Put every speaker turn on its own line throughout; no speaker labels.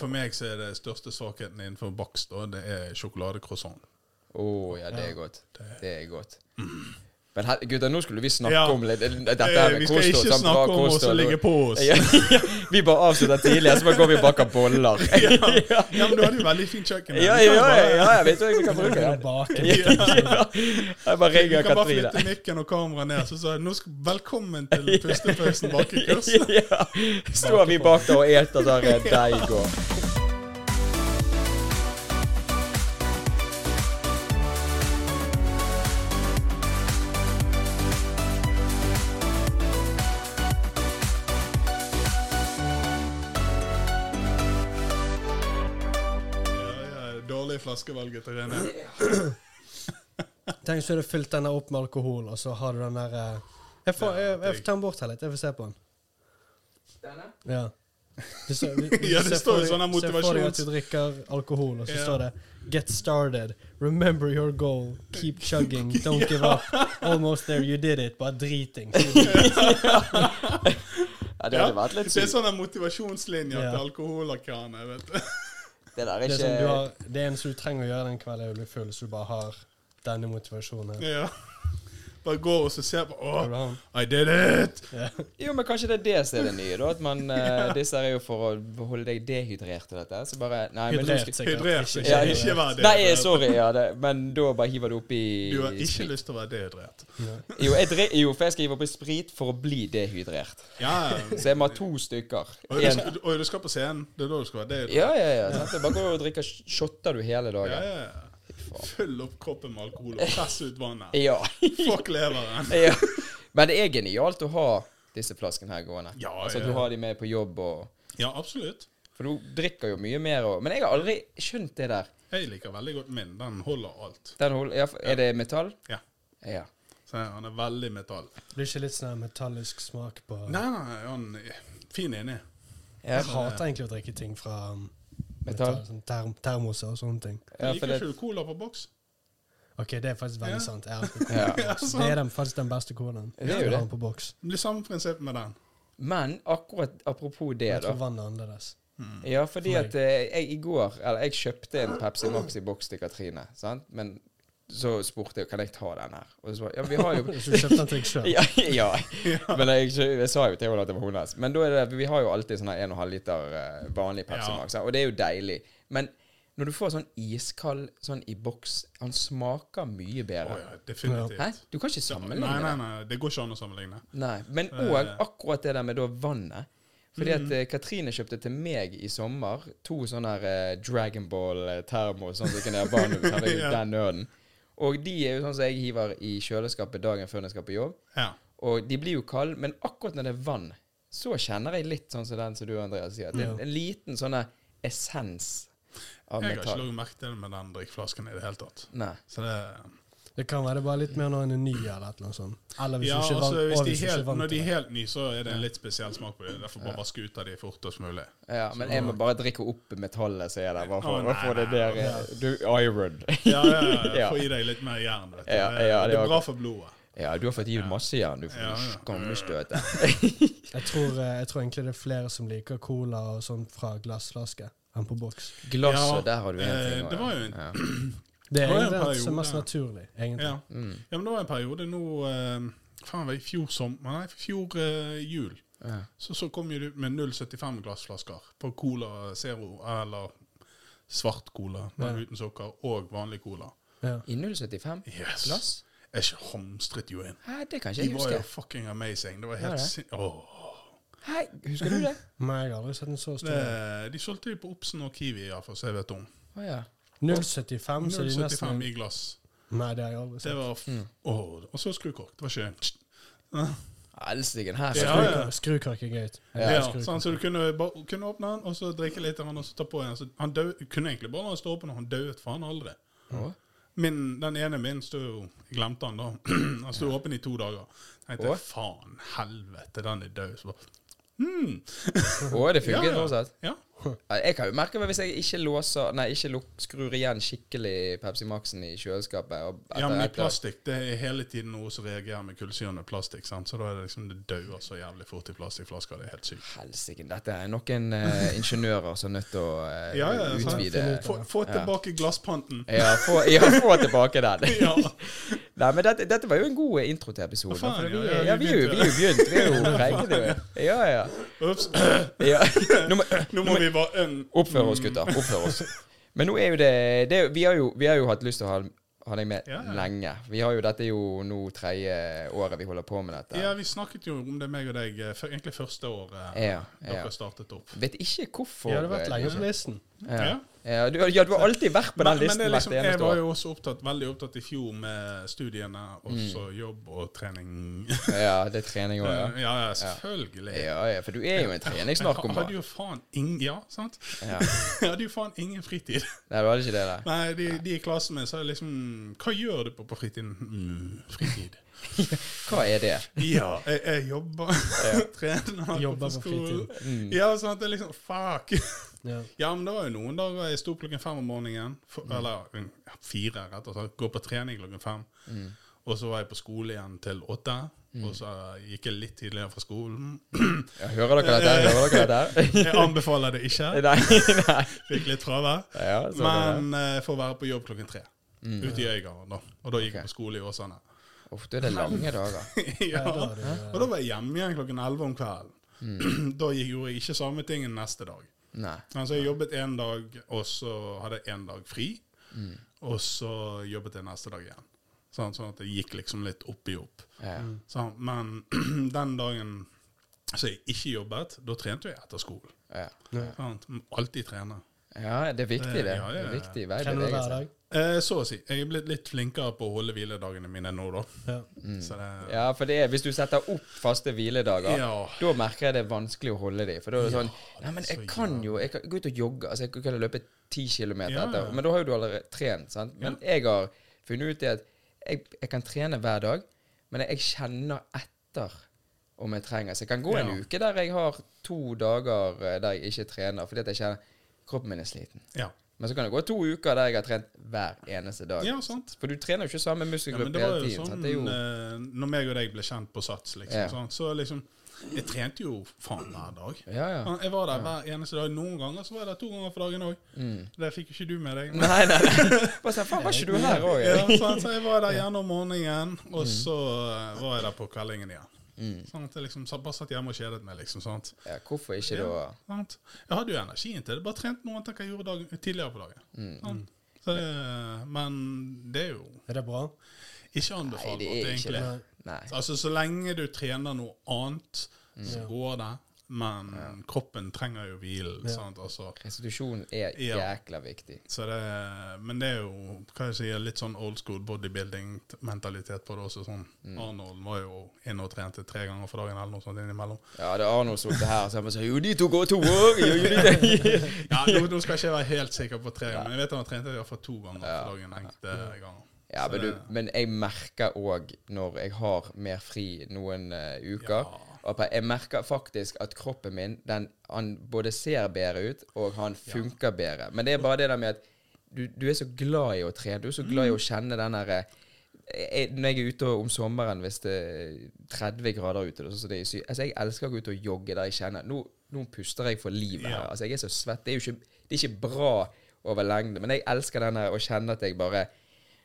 For meg så er det største svakheten innenfor bakst da, det er sjokoladecroissant.
Å ja, det er godt. Det er godt. Men her, gutter, nå skulle vi snakke
Ja.
om litt dette
Eh,
her med
Vi skal
kosthold,
ikke
sant? Bra
snakke om oss som
kosthold og-
ligger på oss.
Ja, ja. Vi bare avslutter tidligere, så bare går vi og baker boller. Ja, ja,
Ja, men du hadde jo veldig fint kjøkken.
ja. ja, ja, jeg vet jo jeg kan bruke det.
Bake.
Ja, ja. Jeg bare
Du
ringer
kan bare
Katrine.
flytte mikken og kameraet ned, så sa jeg nå skal, velkommen til pustepausen bakekurs.
Ja. Står vi bak der og eter der eh, deig og
Ja, ja, dårlig flaskevalg til René.
Tenk så hadde du fylt denne opp med alkohol, og så har du den der eh, Jeg får jeg, jeg, får ta den bort her litt. Jeg får se på den. Ja. Hvis du- hvis-
Ja, det
hvis jeg
står jo
får deg-
sånne
Se for deg at
motivasjons-
du drikker alkohol, og så
Ja.
står det 'Get started. Remember your goal. Keep chugging. Don't give up. Almost there. You did it.' Bare driting.
Ja, det hadde vært litt
det er
sykt.
sånne motivasjonslinjer
Ja.
til alkoholkraner, vet du.
Det der er
Det, er sånn, du
ikke
har, det eneste du trenger å gjøre den kvelden, er å bli full, så du bare har denne motivasjonen. her.
Ja. Bare gå og så se på
Har du
Åh,
han?
I did it!
Ja.
Jo, men kanskje det er det som er det nye, da. At man eh, Disse her er jo for å holde deg dehydrert og dette. Så bare Nei, men nå
Hydrert,
skal
sikkert.
Hydrer seg.
Ja,
Ikke vær det.
Nei, sorry. Ja, det, men da bare hiver du oppi
Du har ikke lyst til å være dehydrert.
Jo, jeg dre, jo, for jeg skal hive oppi sprit for å bli dehydrert.
Ja,
Så jeg må ha to stykker.
og du,
En.
skal, og du skal på scenen. Det er da du skal være dehydrert.
Ja, ja, ja. Sant? Det er Bare gå og drikke sh- shotter du
Ja,
hele dagen.
ja, ja. Fyll opp kroppen med alkohol og press ut vannet.
Ja.
Fuck leveren.
ja. Men det er genialt å ha disse flaskene her gående.
Ja,
altså at
ja.
du har de med på jobb og
Ja, absolutt.
For du drikker jo mye mer og Men jeg har aldri skjønt det der.
Jeg liker veldig godt min. Den holder alt.
Den hold, ja, er det metall?
Ja.
Ja.
Så han er veldig metall.
Blir ikke litt sånn metallisk smak på
Nei, nei, han er fin inni. Sånn,
Ja,
Jeg hater egentlig å drikke ting fra um,
Metall.
metall, sånn term, termoser og sånne ting.
ja, for
liker
det,
ikke du cola på boks?
Ok, det er faktisk
Ja.
veldig sant. Jeg elsker cola.
ja.
Ja,
Så Det er den, faktisk den beste colaen.
Det er jo
Du har
det.
den På boks.
Det blir samme prinsipp med den.
Men akkurat apropos det,
Jeg
da.
tror vann er annerledes.
Ja, fordi
For
at
meg.
eh, jeg i går Eller jeg kjøpte en Pepsi Max i boks til Katrine. Sant? Men så spurte jeg kan jeg ta den her. Og så svarte ja, vi har jo
Så du kjøpte den til deg sjøl.
ja, ja. Men jeg, kjø- jeg sa jo til henne at det var hennes. Men da er det, vi har jo alltid sånn her 1,5 liter eh, vanlig Pepsi
Ja.
Max. sant? Og det er jo deilig. Men når du får sånn iskald sånn i boks, han smaker mye
Å
bedre.
ja,
Hæ?
definitivt.
Du kan ikke
Nei,
sammenligne
nei,
det.
nei, det går ikke an å sammenligne.
Nei, men
Eh.
òg akkurat det der med da vannet. Fordi
Mm.
at eh, Katrine kjøpte til meg i sommer to sånne her eh, Dragon Ball-termos. Sånn som du kan gjøre barn med, sånn, det er jo
Ja.
den nøden. Og de er jo sånn som jeg hiver i kjøleskapet dagen før jeg skal på jobb.
Ja.
Og de blir jo kalde, men akkurat når det er vann, så kjenner jeg litt sånn som den som du, Andreas, sier. At det er en liten sånn her essens av
Jeg har ikke
metall. Mm.
lagt merke til det med den drikkeflasken i det hele tatt.
Nei.
Så det,
Det kan være det bare litt mer når en er ny eller et eller annet sånt. Eller hvis
ja,
du ikke er
altså,
vant,
hvis
og
de
hvis du ikke
helt,
er vant
når de er
til det.
helt nye, så er det en litt spesiell smak på dem. Derfor bare vask ut av dem fortest mulig.
Ja, men jeg må bare drikke opp metallet som er der. Bare
Å, nei,
for, bare for det der eh, Du, iron.
Ja, ja, ja,
Ja.
Få i deg litt mer jern. Vet du.
Ja,
det,
ja,
det
det
er
var-
bra for blodet.
Ja, du har fått gitt masse jern, du.
Ja,
Ja,
ja.
Skammestøte.
Jeg tror, eh, jeg tror egentlig det er flere som liker cola og sånn fra glassflaske enn på boks.
Glass,
Ja,
og der har du en
eh,
ting. også,
det var jo en-
ja.
Det
Det
er
var jo en
egentlig det som er mest
periode.
naturlig, egentlig.
Ja.
Mm.
ja, men det var en periode nå eh, Faen, var det i fjor som Nei, fjor eh, jul.
Ja.
Så, så kom jo du med 0,75 glassflasker på Cola Zero, eller svart cola men uten sukker, og vanlig cola.
Ja.
I 075?
Yes.
Glass?
Jeg ikke hamstret jo inn.
Hæ, det kan ikke
De
jeg
var jo
huske.
fucking amazing. Det var
Ja,
helt
det.
sin... Åh.
Hæ, husker du det?
Men jeg har aldri sett en så stor.
Det, de solgte jo på Obsen og Kiwi, iallfall, så jeg vet om.
Å ja.
0,75, så de
0,75
nesten
i glass.
Nei, det har jeg aldri sett.
Det var f
Mm.
Åh, Og så skrukork. Det var ikke
Elsiken her.
Ja,
Skrukar- Skrukake er gøy.
Ja,
Jeg liker
Sånn
sant, så du kunne, ba- kunne åpne den, og så drikke litt av den, og så ta på igjen. Så han dø, kunne egentlig bare la den stå åpen, og han døde faen aldri.
Å.
Min, den ene min sto jo Jeg glemte han da. Han sto åpen i to dager. Jeg
Å?
tenkte faen, helvete, den er død. Så bare Hmm.
Og det funker
Ja, ja.
fortsatt.
Ja.
Ja, Jeg kan jo merke meg hvis jeg ikke låser Nei, ikke luk, skrur igjen skikkelig Pepsi Max-en i kjøleskapet. Og
ja, men i
etter-
plastikk det er hele tiden noe som reagerer med kullsyren med plastikk. sant? Så da er det liksom det dauer så jævlig fort i plastikkflasker. Det er helt sykt.
Helsike, dette er noen eh, ingeniører som er nødt til å eh,
Ja, ja, sant.
utvide
Få, få tilbake glasspanten.
ja få, ja, få tilbake den.
Ja.
Nei, men dette, dette var jo en god intro til episoden.
Faen,
for vi,
ja, ja,
ja, vi, er jo- vi er jo begynt. Vi er jo preget, jo. Ja, ja.
Ups.
ja. Nå må,
Nå må vi bare um,
Oppfør oss, gutter. Oppfør oss. Men nå er jo det, det er jo- vi, har jo, vi har jo hatt lyst til å ha, ha deg med
Ja, ja.
lenge. Vi har jo, dette er jo nå tredje året vi holder på med dette.
Ja, vi snakket jo om det, meg og deg, eh, før- egentlig første året eh,
ja, ja.
dere startet opp.
Vet ikke hvorfor.
Vi hadde vært
eh,
lenge
liksom.
på listen.
Ja.
Ja.
Ja, du, ja, du har alltid vært på den
Men, men
listen
det er liksom,
hvert
jeg
eneste
var
år.
jo også opptatt, veldig opptatt i fjor med studiene, og så jobb og trening.
Ja, det er trening òg, Mm. ja.
Ja, ja, selvfølgelig.
ja. Ja, For du er jo en
Jeg
treningsnarkoman.
hadde jo faen ingen Ja, sant?
Ja.
Jeg hadde jo faen ingen fritid.
Nei, du hadde ikke det der.
Nei, de, de i klassen min sa liksom Hva gjør du på, på fritiden? Mm, fritid.
Hva er det?
Ja, jeg, jeg jobber, trener, går
Jobber på Mm.
skolen. Ja, sant, det er liksom Fuck!
Ja.
Ja, men det var jo noen dager jeg sto klokken fem om morgenen, for, eller mm, ja, fire, rett og slett, gå på trening klokken fem. Og så var jeg på skole igjen til åtte, og så gikk jeg litt tidligere fra skolen.
Ja, hører dere dette? Hører dere dette?
Jeg anbefaler det ikke.
Nei, nei.
Fikk litt travelt.
Ja, sånn er det.
Men eh, får være på jobb klokken tre. Ute i Øygarden, da. Og da gikk jeg på skole i Åsane.
Uff, da er det lange dager.
ja.
da er det, ja.
Og da var jeg hjemme igjen klokken elleve om kvelden. da gikk- gjorde jeg ikke samme tingen neste dag.
Nei.
Men så Altså, jeg jobbet én dag, og så hadde jeg én dag fri. Og så jobbet jeg neste dag igjen. Sånn, sånn at det gikk liksom litt opp i opp.
Ja.
Sånn, men den dagen så jeg ikke jobbet, da trente jeg etter skolen.
Ja.
Sant? Alltid trene.
ja, det er viktig, det.
Ja, ja, ja.
Det er viktig vei
Trener du hver dag?
Eh, så å si. Jeg er blitt litt flinkere på å holde hviledagene mine nå, da.
Ja.
Så det,
Mm. Ja, for det er, hvis du setter opp faste hviledager,
Ja.
da merker jeg det er vanskelig å holde dem. For da er det sånn Nei, men jeg
så
kan jo jeg kan gå ut og jogge. Altså, jeg kan løpe ti kilometer
Ja, ja.
etter. Men da har jo du allerede trent, sant. Men jeg har funnet ut det at jeg, jeg kan trene hver dag, men jeg kjenner etter om jeg trenger. Så jeg kan gå en
Ja.
uke der jeg har to dager eh, der jeg ikke trener, fordi at jeg kjenner kroppen min er sliten.
ja.
Men så kan det gå to uker der jeg har trent hver eneste dag.
Ja, sant.
For du trener jo ikke samme
ja. Men
muskelgruppe
det var
hele
jo
tiden. sant?
sånn
Det er jo,
eh, Når meg og deg ble kjent på Sats, liksom,
Ja.
sant? så liksom Jeg trente jo faen hver dag.
ja, ja. Mm.
Jeg var der hver eneste dag. Noen ganger så var jeg der to ganger for dagen òg. Det fikk jo ikke du med deg.
Nei, nei, nei. Bare sånn, faen, var ikke du her òg?
Ja, sant? Så jeg var der gjerne om morgenen, og
Mm.
så eh, var jeg der på kveldingen igjen. Sånn at jeg liksom sa- bare satt hjemme og kjedet meg, liksom. sant?
Ja, hvorfor ikke da?
Ja, sant? Jeg hadde jo energien til det, bare trent noe annet enn hva jeg gjorde dagen, tidligere på dagen.
Mm.
Sant? Så det, men det er jo
Er det bra?
ikke
Nei, det
anbefalbart,
er ikke
egentlig.
det. Nei.
Altså, så lenge du trener noe annet,
Mm.
så går det. Men kroppen trenger jo hvilen. sant? Altså,
Restitusjon er
Ja.
jækla viktig.
så det, men det er jo hva jeg sier, litt sånn old school bodybuilding-mentalitet på det også. sånn.
Mm.
Arnold var jo inne og trente tre ganger for dagen eller noe sånt innimellom.
Ja, det er Arnold som er her og sier sånn Jo, de to går to år! Jo, jo, de
Ja, Nå nå skal ikke jeg være helt sikker på tre, men jeg vet han har trent i hvert fall to ganger for dagen. enkelte ganger.
Ja, Mm.
Så det-
men, du, men jeg merker òg når jeg har mer fri noen eh, uker og på- Jeg merker faktisk at kroppen min den, han både ser bedre ut, og han funker bedre. Men det er bare det der med at du, du er så glad i å trene. Du er
Mm.
så glad i å kjenne den derre jeg, Når jeg er ute om sommeren, hvis det er 30 grader ute sånn som det er i sy altså Jeg elsker å gå ut og jogge der jeg kjenner Nå, nå puster jeg for livet her.
Ja.
Altså, jeg er så svett. Det er jo ikke, det er ikke bra over lengde, men jeg elsker den her å kjenne at jeg bare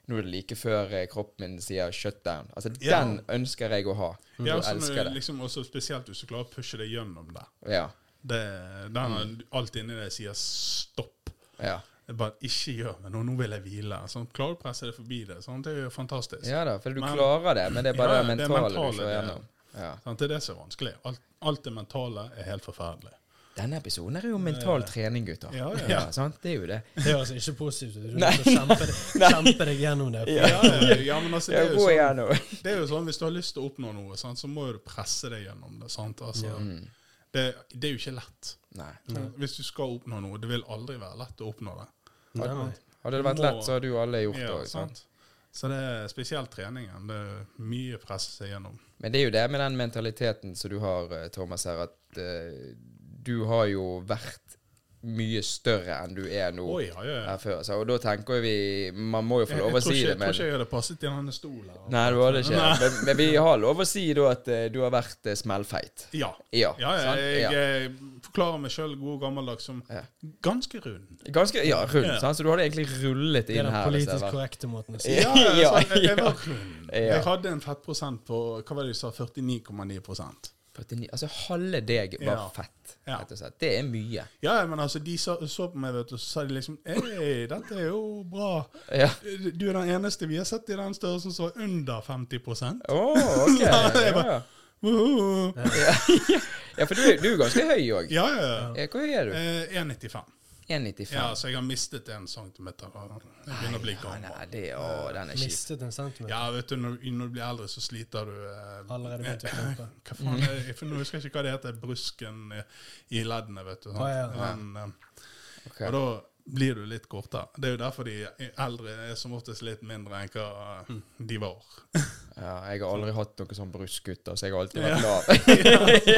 nå er det like før eh, kroppen min sier 'shut down'. Altså,
Ja.
den ønsker jeg å ha.
Ja,
og
også,
elsker
når,
det.
liksom, også spesielt hvis du klarer å pushe deg gjennom det.
Ja.
det den,
Mm.
Alt inni deg sier stopp.
ja.
Det er Bare ikke gjør meg noe, nå vil jeg hvile. Sånn, klarer du å presse deg forbi det? Sånn, det er jo fantastisk.
Ja da, for du
Men-
klarer det, men det er bare
Ja,
det
det er
mentale
mentale,
du slår
det er-
gjennom. Ja.
Sånn, det er det som er vanskelig. Alt, alt det mentale er helt forferdelig.
Denne episoden her er jo mental trening, gutter.
Ja, ja.
sant? Det er jo det.
Det er altså ikke positivt. Du må kjempe, kjempe deg gjennom det.
Ja, ja, ja, men altså, det,
Ja,
er jo
gå
sånn,
igjen nå.
det er jo sånn hvis du har lyst til å oppnå noe, sant, så må jo du presse deg gjennom det. Sant? Altså, det, det er jo ikke lett.
Nei.
Sånn, Hvis du skal oppnå noe, det vil aldri være lett å oppnå det.
Nei, nei.
Hadde det vært
Må-
lett, så hadde jo alle gjort det
Ja,
òg.
sant? Så det er spesielt treningen. Det er mye å presse seg gjennom.
Men det er jo det med den mentaliteten som du har, eh, Thomas, her, at eh, du har jo vært mye større enn du er nå
Oi, ja, ja, ja.
her før. Så, og da tenker vi Man må jo få
Jeg,
lov
jeg,
å
tror
si
ikke, jeg
det,
tror
men
ikke jeg hadde passet i denne stolen. her.
Nei, det var det ikke.
Nei.
Men, men vi har lov å si da at eh, du har vært eh, smellfeit.
Ja.
Ja.
Ja, ja,
sant?
jeg,
Ja.
eh, forklarer meg sjøl god gammeldags som
Ja.
ganske rund.
Ganske ja, rund,
Ja.
sant? så du hadde egentlig rullet
Det er
inn
den
her. hvis jeg
politisk
var-
korrekte måten å si det
Ja,
Ja, jeg,
ja,
sa- jeg, jeg
ja.
var rund.
Ja.
Jeg hadde en fettprosent på hva var det de sa, 49,9
49, altså halve deg var
Ja.
fett,
Ja.
rett og slett. Det er mye.
Ja, men altså, de så, så på meg, vet du, så sa de liksom Hei, dette er jo bra.
Ja.
Du er den eneste vi har sett i den størrelsen som er under 50
Å, ok.
Ja, det er
Ja,
bare-
ja.
Woho!
ja for du, er- du er ganske høy òg.
Ja, ja, ja.
Hvor høy er du?
Eh, 1,95.
1,95?
Ja, så jeg har mistet en centimeter. og Jeg begynner å bli
Ja,
gammel.
Ah, nei, det, å, den er kjip.
Mistet en centimeter.
Ja, vet du, når, når du blir eldre, så sliter du eh,
Allerede begynt å
eh,
kjempe.
Hva faen er det? For Nå husker jeg ikke hva det heter. Brusken eh, i leddene, vet du. sant?
Ah, ja, ja.
Men, eh,
Ok.
Og da blir du litt kortere. Det er jo derfor de eldre er som oftest litt mindre enn hva eh, de var.
Ja, jeg har aldri hatt noe sånn bruskgutter, så jeg har alltid vært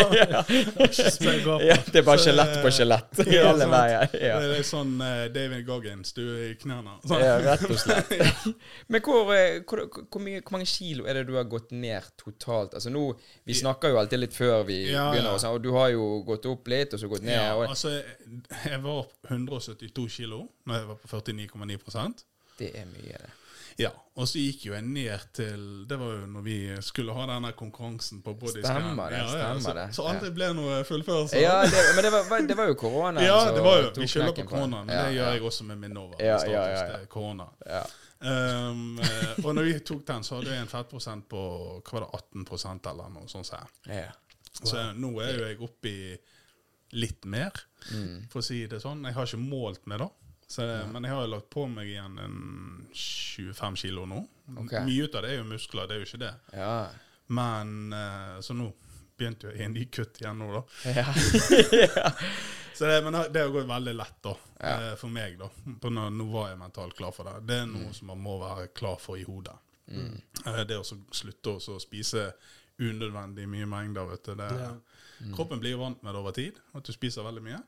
lav.
Spør gå på.
ja, det er bare
Så,
skjelett på
eh,
skjelett
ja,
hele
sant.
veien. Ja.
Det er sånn eh, David Goggins, du er i knærne. Sånn.
ja, rett og slett. Men hvor, eh, hvor, hvor, mye, hvor mange kilo er det du har gått ned totalt? Altså nå, Vi snakker jo alltid litt før vi
Ja,
begynner,
ja.
og, sånn, og du har jo gått opp litt, og så gått ned.
Ja,
og
altså, jeg var 172 kilo når jeg var på 49,9
Det er mye, det.
Ja, og så gikk jo jeg ned til Det var jo når vi skulle ha denne konkurransen på bodyscan.
Stemmer det,
så,
stemmer det.
Så aldri ble noe fullførelse.
Ja, det, men det var, det var jo koronaen
Ja,
som
det var jo,
tok
vi skylder på
knekken den.
koronaen, men
Ja,
det
ja.
gjør jeg også med min Nova.
Ja,
status,
ja, ja, ja.
det er korona.
Ja.
Um, eh, og når vi tok den, så hadde jeg en fettprosent på hva var det, 18 eller noe sånt. Så, her.
Ja.
så nå er jo jeg oppe i litt mer, for å si det sånn. Jeg har ikke målt meg, da. Så, eh, Men jeg har jo lagt på meg igjen en 25 kilo nå.
Ok.
Mye ut av det er jo muskler, det er jo ikke det.
Ja.
Men eh, Så nå begynte jo jeg en ny kutt igjen nå, da.
Ja.
Så det, men det har gått veldig lett, da. eh, For meg, da. På nå, nå var jeg mentalt klar for det. Det er noe som man må være klar for i hodet. Eh, Det å så slutte å så spise unødvendig mye mengder, vet du. Det,
Ja.
Kroppen blir jo vant med det over tid, at du spiser veldig mye.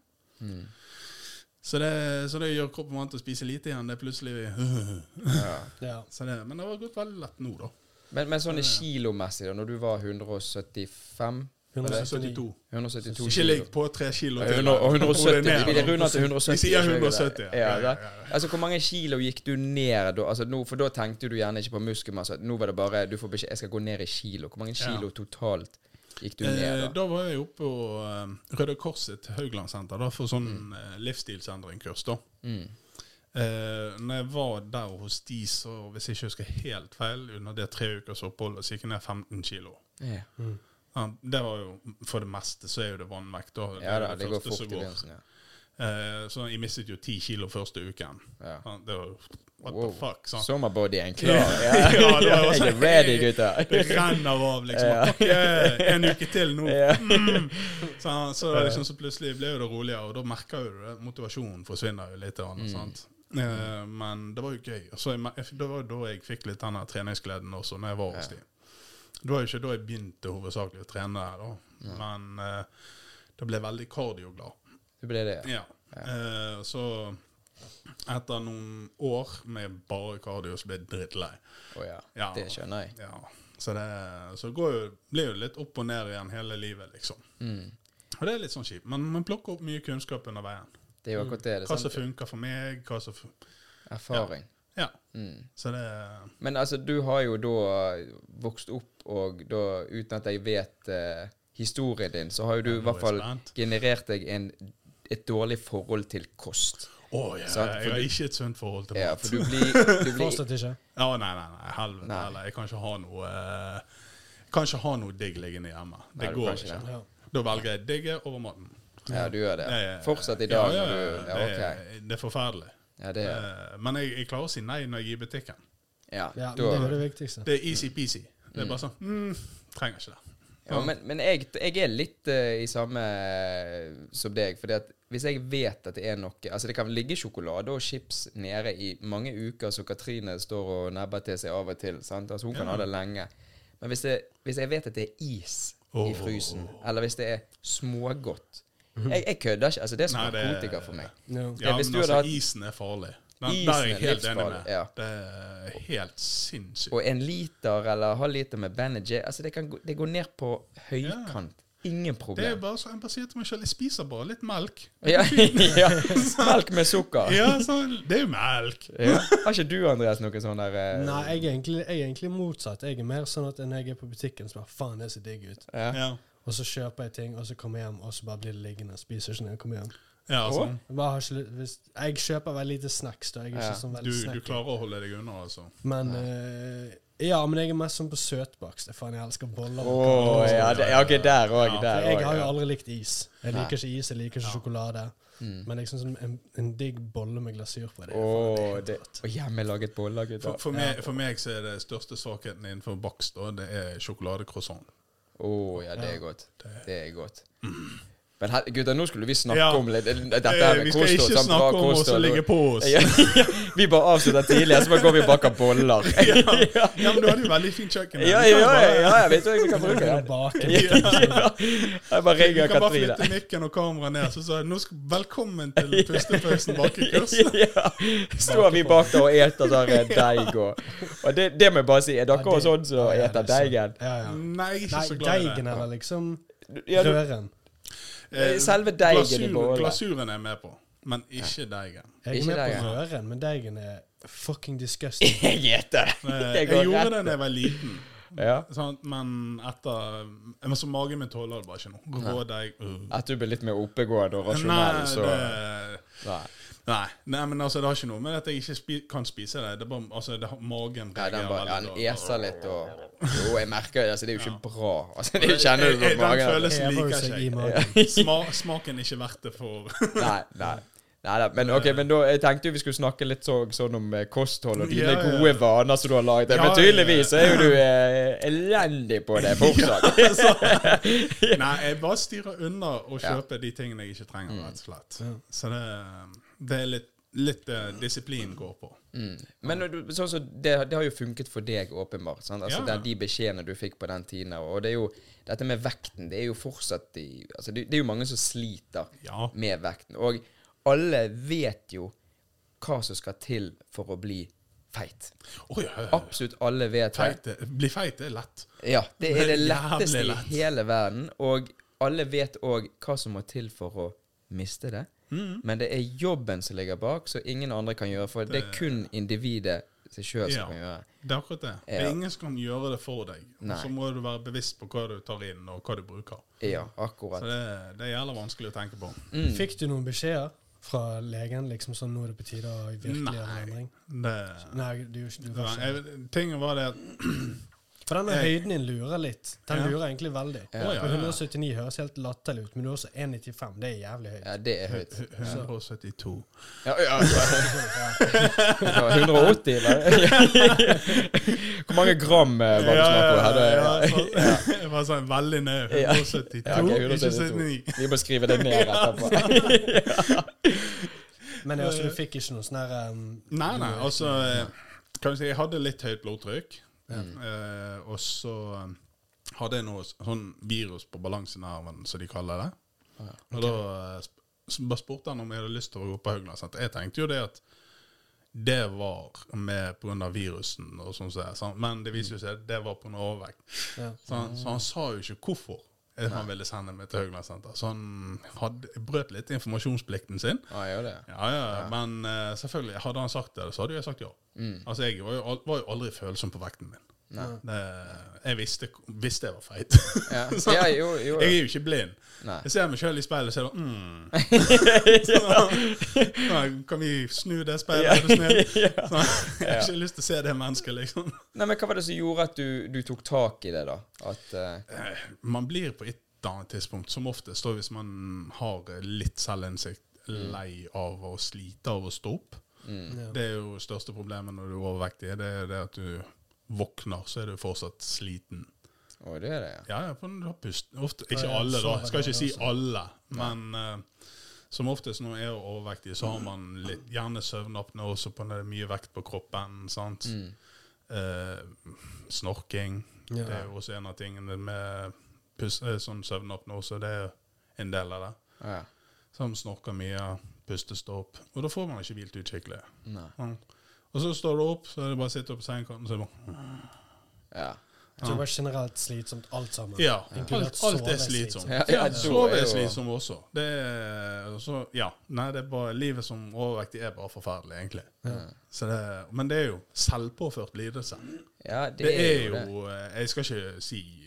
Så, det, så det gjør kroppen vant til å spise lite igjen. Det er plutselig
Ja.
Ja.
så det, Men det har gått veldig lett nå, da.
Men, men sånn i kilomessig, da, når du var 175
179.
172.
172
Ikke
kilo
ligg Altså, på tre kilo
Og
til.
100, og 170,
Ned,
vi- vi
da.
runder til 170.
Vi sier
ikke
170,
det?
ja.
Ja,
Ja, ja,
da. Altså, Hvor mange kilo gikk du ned da? Altså, nå, for da tenkte du gjerne ikke på muskelmasse. Nå var det bare du får beskjed, jeg skal gå ned i kilo. Hvor mange kilo totalt gikk du
Eh,
ned da?
da var jeg oppe på eh, Røde Korset Hauglandsenter da, for sånn eh, livsstilsendringkurs. da.
Mm.
Eh, når jeg var der hos de, så hvis jeg ikke husker helt feil, under det tre ukers oppholdet, så gikk jeg ned 15 kilo.
Ja.
Ja, det var jo, For det meste så er jo det vannvekt. da.
ja
er jo
da, det altså. går
første
fort i
som
begynnelsen. Ja.
Eh, så jeg mistet jo 10 kilo første uken.
Ja.
Ja, det var jo What
Wow.
the fuck? sant?
Sommerbodyen klar. Ja.
Ja, det var
jeg
også-
er ready, gutter.
Det renner av, liksom.
Ja.
«Fuck yeah, En uke til nå.
Ja.
Mm. Så, så, liksom, så plutselig ble jo det roligere, og da merker jo du det. Motivasjonen forsvinner jo litt. Annet,
Mm.
sant? Eh, Men det var jo gøy. Og Så jeg, mer- det var jo da jeg fikk litt den der treningsgleden også, når jeg var hos de. Det var jo ikke da jeg begynte hovedsakelig å trene der, da. Men eh, da ble jeg veldig kardioglad.
Det ble det, ja.
Ja. Eh, så etter noen år med bare kardio, så ble jeg drittlei.
Å ja.
Ja.
Det skjønner jeg.
Ja, så det, så det går jo, blir jo litt opp og ned igjen hele livet, liksom.
Mm.
Og det er litt sånn kjipt, men man plukker opp mye kunnskap under veien.
Det er jo akkurat det. det
Hva som
sant?
funker for meg, hva som fun-
Erfaring.
Ja,
Mm.
så det
Men altså, du har jo da vokst opp, og da, uten at jeg vet eh, historien din, så har jo du
Ja,
i
nå er jeg
hvert fall
spent.
generert deg en, et dårlig forhold til kost.
Å ja,
Sant, for
jeg har
du-
ikke et sunt forhold til
Ja,
mat.
for du blir, du blir
Fortsatt ikke.
Ja, nei, nei, nei, helvete
Nei.
heller. Jeg kan ikke ha noe eh, Kan ikke ha noe digg liggende hjemme. Det
Nei, du
går
kan
ikke.
ikke
Ja.
Da velger jeg digget over maten.
Ja, du gjør det.
Det er-
Fortsatt i
Ja,
dag.
ja,
når
ja,
du, ja
det,
ok.
er, det er forferdelig.
Ja, det er
Eh, Men jeg, jeg klarer å si nei når jeg er i butikken.
ja,
ja, men det
da,
er jo det viktigste.
Det er easy-peasy. Det er bare sånn mm, Trenger ikke det.
ja, Men, men jeg, jeg er litt eh, i samme eh, som deg, fordi at hvis jeg vet at det er noe Altså, det kan ligge sjokolade og chips nede i mange uker, så Katrine står og nebber til seg av og til. Sant? Altså, hun kan ha det lenge. Men hvis, det, hvis jeg vet at det er is i
Åh. Mhm.
frysen, eller hvis det er smågodt Jeg, jeg kødder ikke. Altså, det er
Nei, det-
narkotika for meg.
Ja.
Ja,
hvis
men
du hadde
altså,
hatt-
isen er farlig. Den,
Isen
der er jeg
er
helt enig
livsfarlig,
med.
ja.
Det er helt sinnssykt.
Og en liter eller halv liter med Ben J altså, det, kan, gå- det går ned på høykant. Ingen
Det er
problem.
bare så en pasient til meg selv. Jeg spiser bare litt melk.
Ja, ja. Melk med sukker.
Ja, sånn, Det er jo melk.
Ja. Har ikke du, Andreas, noe sånn der eh,
Nei, jeg er, egentlig, jeg er egentlig motsatt. Jeg er mer sånn at når jeg er på butikken, så bare faen, det ser digg ut.
Ja.
Ja,
Og så kjøper jeg ting, og så kommer jeg hjem, og så bare blir det liggende. Spiser ikke når jeg kommer hjem.
ja
Å?
sånn.
Jeg, bare har ikke, lyst- hvis, jeg kjøper veldig lite snacks, da. Jeg er
Ja.
ikke sånn
Du,
veldig
du
snack.
klarer å holde deg unna, altså.
Men eh, Ja, men jeg er mest sånn på søtbakst. Det er Faen, jeg elsker boller.
Å,
og kaker.
ja, det, ja, ok, der òg.
Ja, for
der
For jeg
også,
har jo
ja.
aldri likt is. Jeg
Nei.
liker ikke is, jeg liker ikke
Ja.
sjokolade.
Mm.
Men jeg syns en, en digg bolle med glasur på det. er faen,
Åh,
helt
det
rått.
Og hjemmelaget boller, gutter.
For, for, meg, for meg så er det største svakheten innenfor bakst, og det er sjokoladecroissant.
Å ja, det er godt. Det er godt. Men her, gutter, nå skulle vi snakke
Mm. Ja.
om litt Dette her
Eh,
med
Vi skal
kosthold.
ikke
sånn bra
snakke om oss som
kosthold.
ligger på oss.
Ja, ja, vi bare avslutter tidlig, så bare går vi og baker boller.
Ja, ja, men du hadde jo veldig fint kjøkken. her.
Ja, ja,
Du kan
ja,
bare-
ja, jeg vet jo jeg kan
Du
bruke
kan
den.
bake.
Ja. Jeg bare
Du
ringer
kan bare
Katrine.
flytte mikken og kameraet ned, så sa jeg nå skal, velkommen til pustepausen bak i kursen.
Ja. Står vi bak der og eter der eh, deig og Og det, det må jeg bare si, er dere
Ja, det-
også sånn som
Ja, ja,
eter
det er
deigen? Mm.
sant. Ja, ja.
Nei, jeg er ikke
Nei,
så glad i det.
deigen eller liksom
Ja, du,
røren.
Eh,
Selve deigen i bollen.
Glasuren er jeg med på, men ikke deigen.
Jeg er
Ikke
med
deigen.
på røren, men deigen er fucking disgusting.
jeg eter det.
Eh,
Det
Jeg
går
gjorde
rett.
det da jeg var liten,
Ja.
sant? men etter men så Magen min tåler det bare ikke noe. Rå deig
Mm.
uh.
At du blir litt mer oppegående og rasjonell,
Nei,
så
det
Nei.
Nei, nei, men altså, det har ikke noe med at jeg ikke spi kan spise det. det er bare, altså, det har, magen
Nei, den bare, ja, den
veldig da.
eser litt og Jo, jeg merker det. Altså, det er jo ikke bra. Altså, det
Jeg-
kjenner
jeg-
du på
jeg- Den
magen.
følelsen
Hever
liker
seg
ikke
i
jeg. Sma, smaken er ikke verdt det for
Nei, nei. Nei, nei, men ok, men da, jeg tenkte jo vi skulle snakke litt så, sånn om eh, kosthold og dine
Ja, ja.
gode vaner som du har laget.
Ja,
men
ja.
tydeligvis er jo du eh, elendig på det fortsatt.
Nei, jeg bare styrer unna og kjøper de tingene jeg ikke trenger, rett og slett.
Mm.
Så det, det er litt, litt eh, disiplin går på.
Mm. Men når du- sånn som det, det har jo funket for deg, åpenbart. Sant? Altså,
Ja.
den, de beskjedene du fikk på den tiden. Og det er jo, dette med vekten Det er jo fortsatt i, altså, det, det er jo mange som sliter
Ja.
med vekten. Og alle vet jo hva som skal til for å bli feit.
Å ja,
Absolutt alle vet det.
feit, er- bli feit er lett.
Ja, det er det
Jævlig
letteste i
lett.
hele verden. Og alle vet òg hva som må til for å miste det.
Mm.
Men det er jobben som ligger bak, så ingen andre kan gjøre for det. er kun individet seg sjøl som
Ja.
kan gjøre.
Det er akkurat det. Det
Ja.
er ingen som kan gjøre det for deg.
Nei.
Så må du være bevisst på hva du tar inn, og hva du bruker.
Ja,
Så
akkurat.
det, det er jævla vanskelig å tenke på.
Mm.
Fikk du noen beskjeder fra legen? Liksom sånn nå er det på tide å virkelig gjøre en
Nei.
endring?
Mm.
Det,
Nei, du, gjorde ikke- du var
Nei,
ikke
jeg, tingen var det at
For denne
Jeg-
høyden din lurer litt. Den
Ja.
lurer egentlig veldig.
Ja. Å, ja,
For
ja.
179 høres helt latterlig ut, men du er også 1,95. Det er jævlig høyt.
Ja, det er høyt.
172
Ja, ja, altså. ja. 180, eller? Hvor mange gram eh, var det snakk om? her? Det-
ja, så- Jeg var sånn veldig ned.
Ja.
172,
Ja, ok,
ikke
172.
79.
Vi må skrive det ned etterpå.
Men jeg, altså, du fikk ikke noe sånn her um,
Nei,
du-
nei, altså eh, kan vi si, Jeg hadde litt høyt blodtrykk. Eh, og så eh, hadde jeg noe s- sånn virus på balansenerven, som de kaller det. Og da eh, sp s- bare spurte han om jeg hadde lyst til å gå på Haugland. sant? Jeg tenkte jo det at det var med pga. virusen, og sånn som det er, sant? men det viser jo seg at det var pga. overvekt.
Ja.
Så han, så han sa jo ikke hvorfor eh, han ville sende meg til Haugland senter. Så han hadde, brøt litt informasjonsplikten sin.
Ja, gjør det.
Ja, ja, men eh, selvfølgelig, hadde han sagt det, så hadde jo jeg sagt ja.
Mm.
Altså, jeg var jo, al- var jo aldri følsom på vekten min. Det, jeg visste, visste jeg var feit.
Ja.
Så-
Ja, jo, jo.
Sånn. Jeg er jo ikke blind.
Nei.
Jeg ser meg sjøl i speilet og ser mm. Sånn, Kan vi snu det speilet, er du snill? Sånn, jeg har ikke lyst til å se det mennesket, liksom.
Nei, men Hva var det som gjorde at du, du tok tak i det, da? At eh,
Eh, Man blir på et eller annet tidspunkt, som oftest, da, hvis man har eh, litt selvinnsikt,
Mm.
lei av å slite av å stå opp.
Ja.
Det er jo største problemet når du er overvektig. Det er det at du våkner, så er du fortsatt sliten.
Å, det er det, ja.
Ja, ja, for du har pust. Ofte, ikke
Ja, ja,
alle,
så
da.
er det
Skal ikke
det
si
også.
alle, men eh, Som oftest når jeg er overvektig, så har man litt, gjerne søvnapnose på når det er mye vekt på kroppen. sant? Eh, snorking.
Mm. Ja.
Det er jo også en av tingene med pus, eh, sånn søvnapnose. Det er en del av det.
Ja.
Som snorker mye, pustestopp. Og da får man ikke hvilt ut skikkelig.
Nei.
Mm. Og så står du opp, så er det bare å sitte opp på sengekanten så er det bare,
Ja.
Jeg tror det var generelt slitsomt alt sammen.
Ja.
Inkludert
Alt, alt
sove er
er slitsomt.
Ja, ja, da
Sove
er
er
jo-
slitsomt også. Det er, så, ja. Nei, det er bare livet som overvektig er bare forferdelig, egentlig. Så det, men det er jo selvpåført lidelse.
ja,
Det er
det.
jo eh, Jeg skal ikke si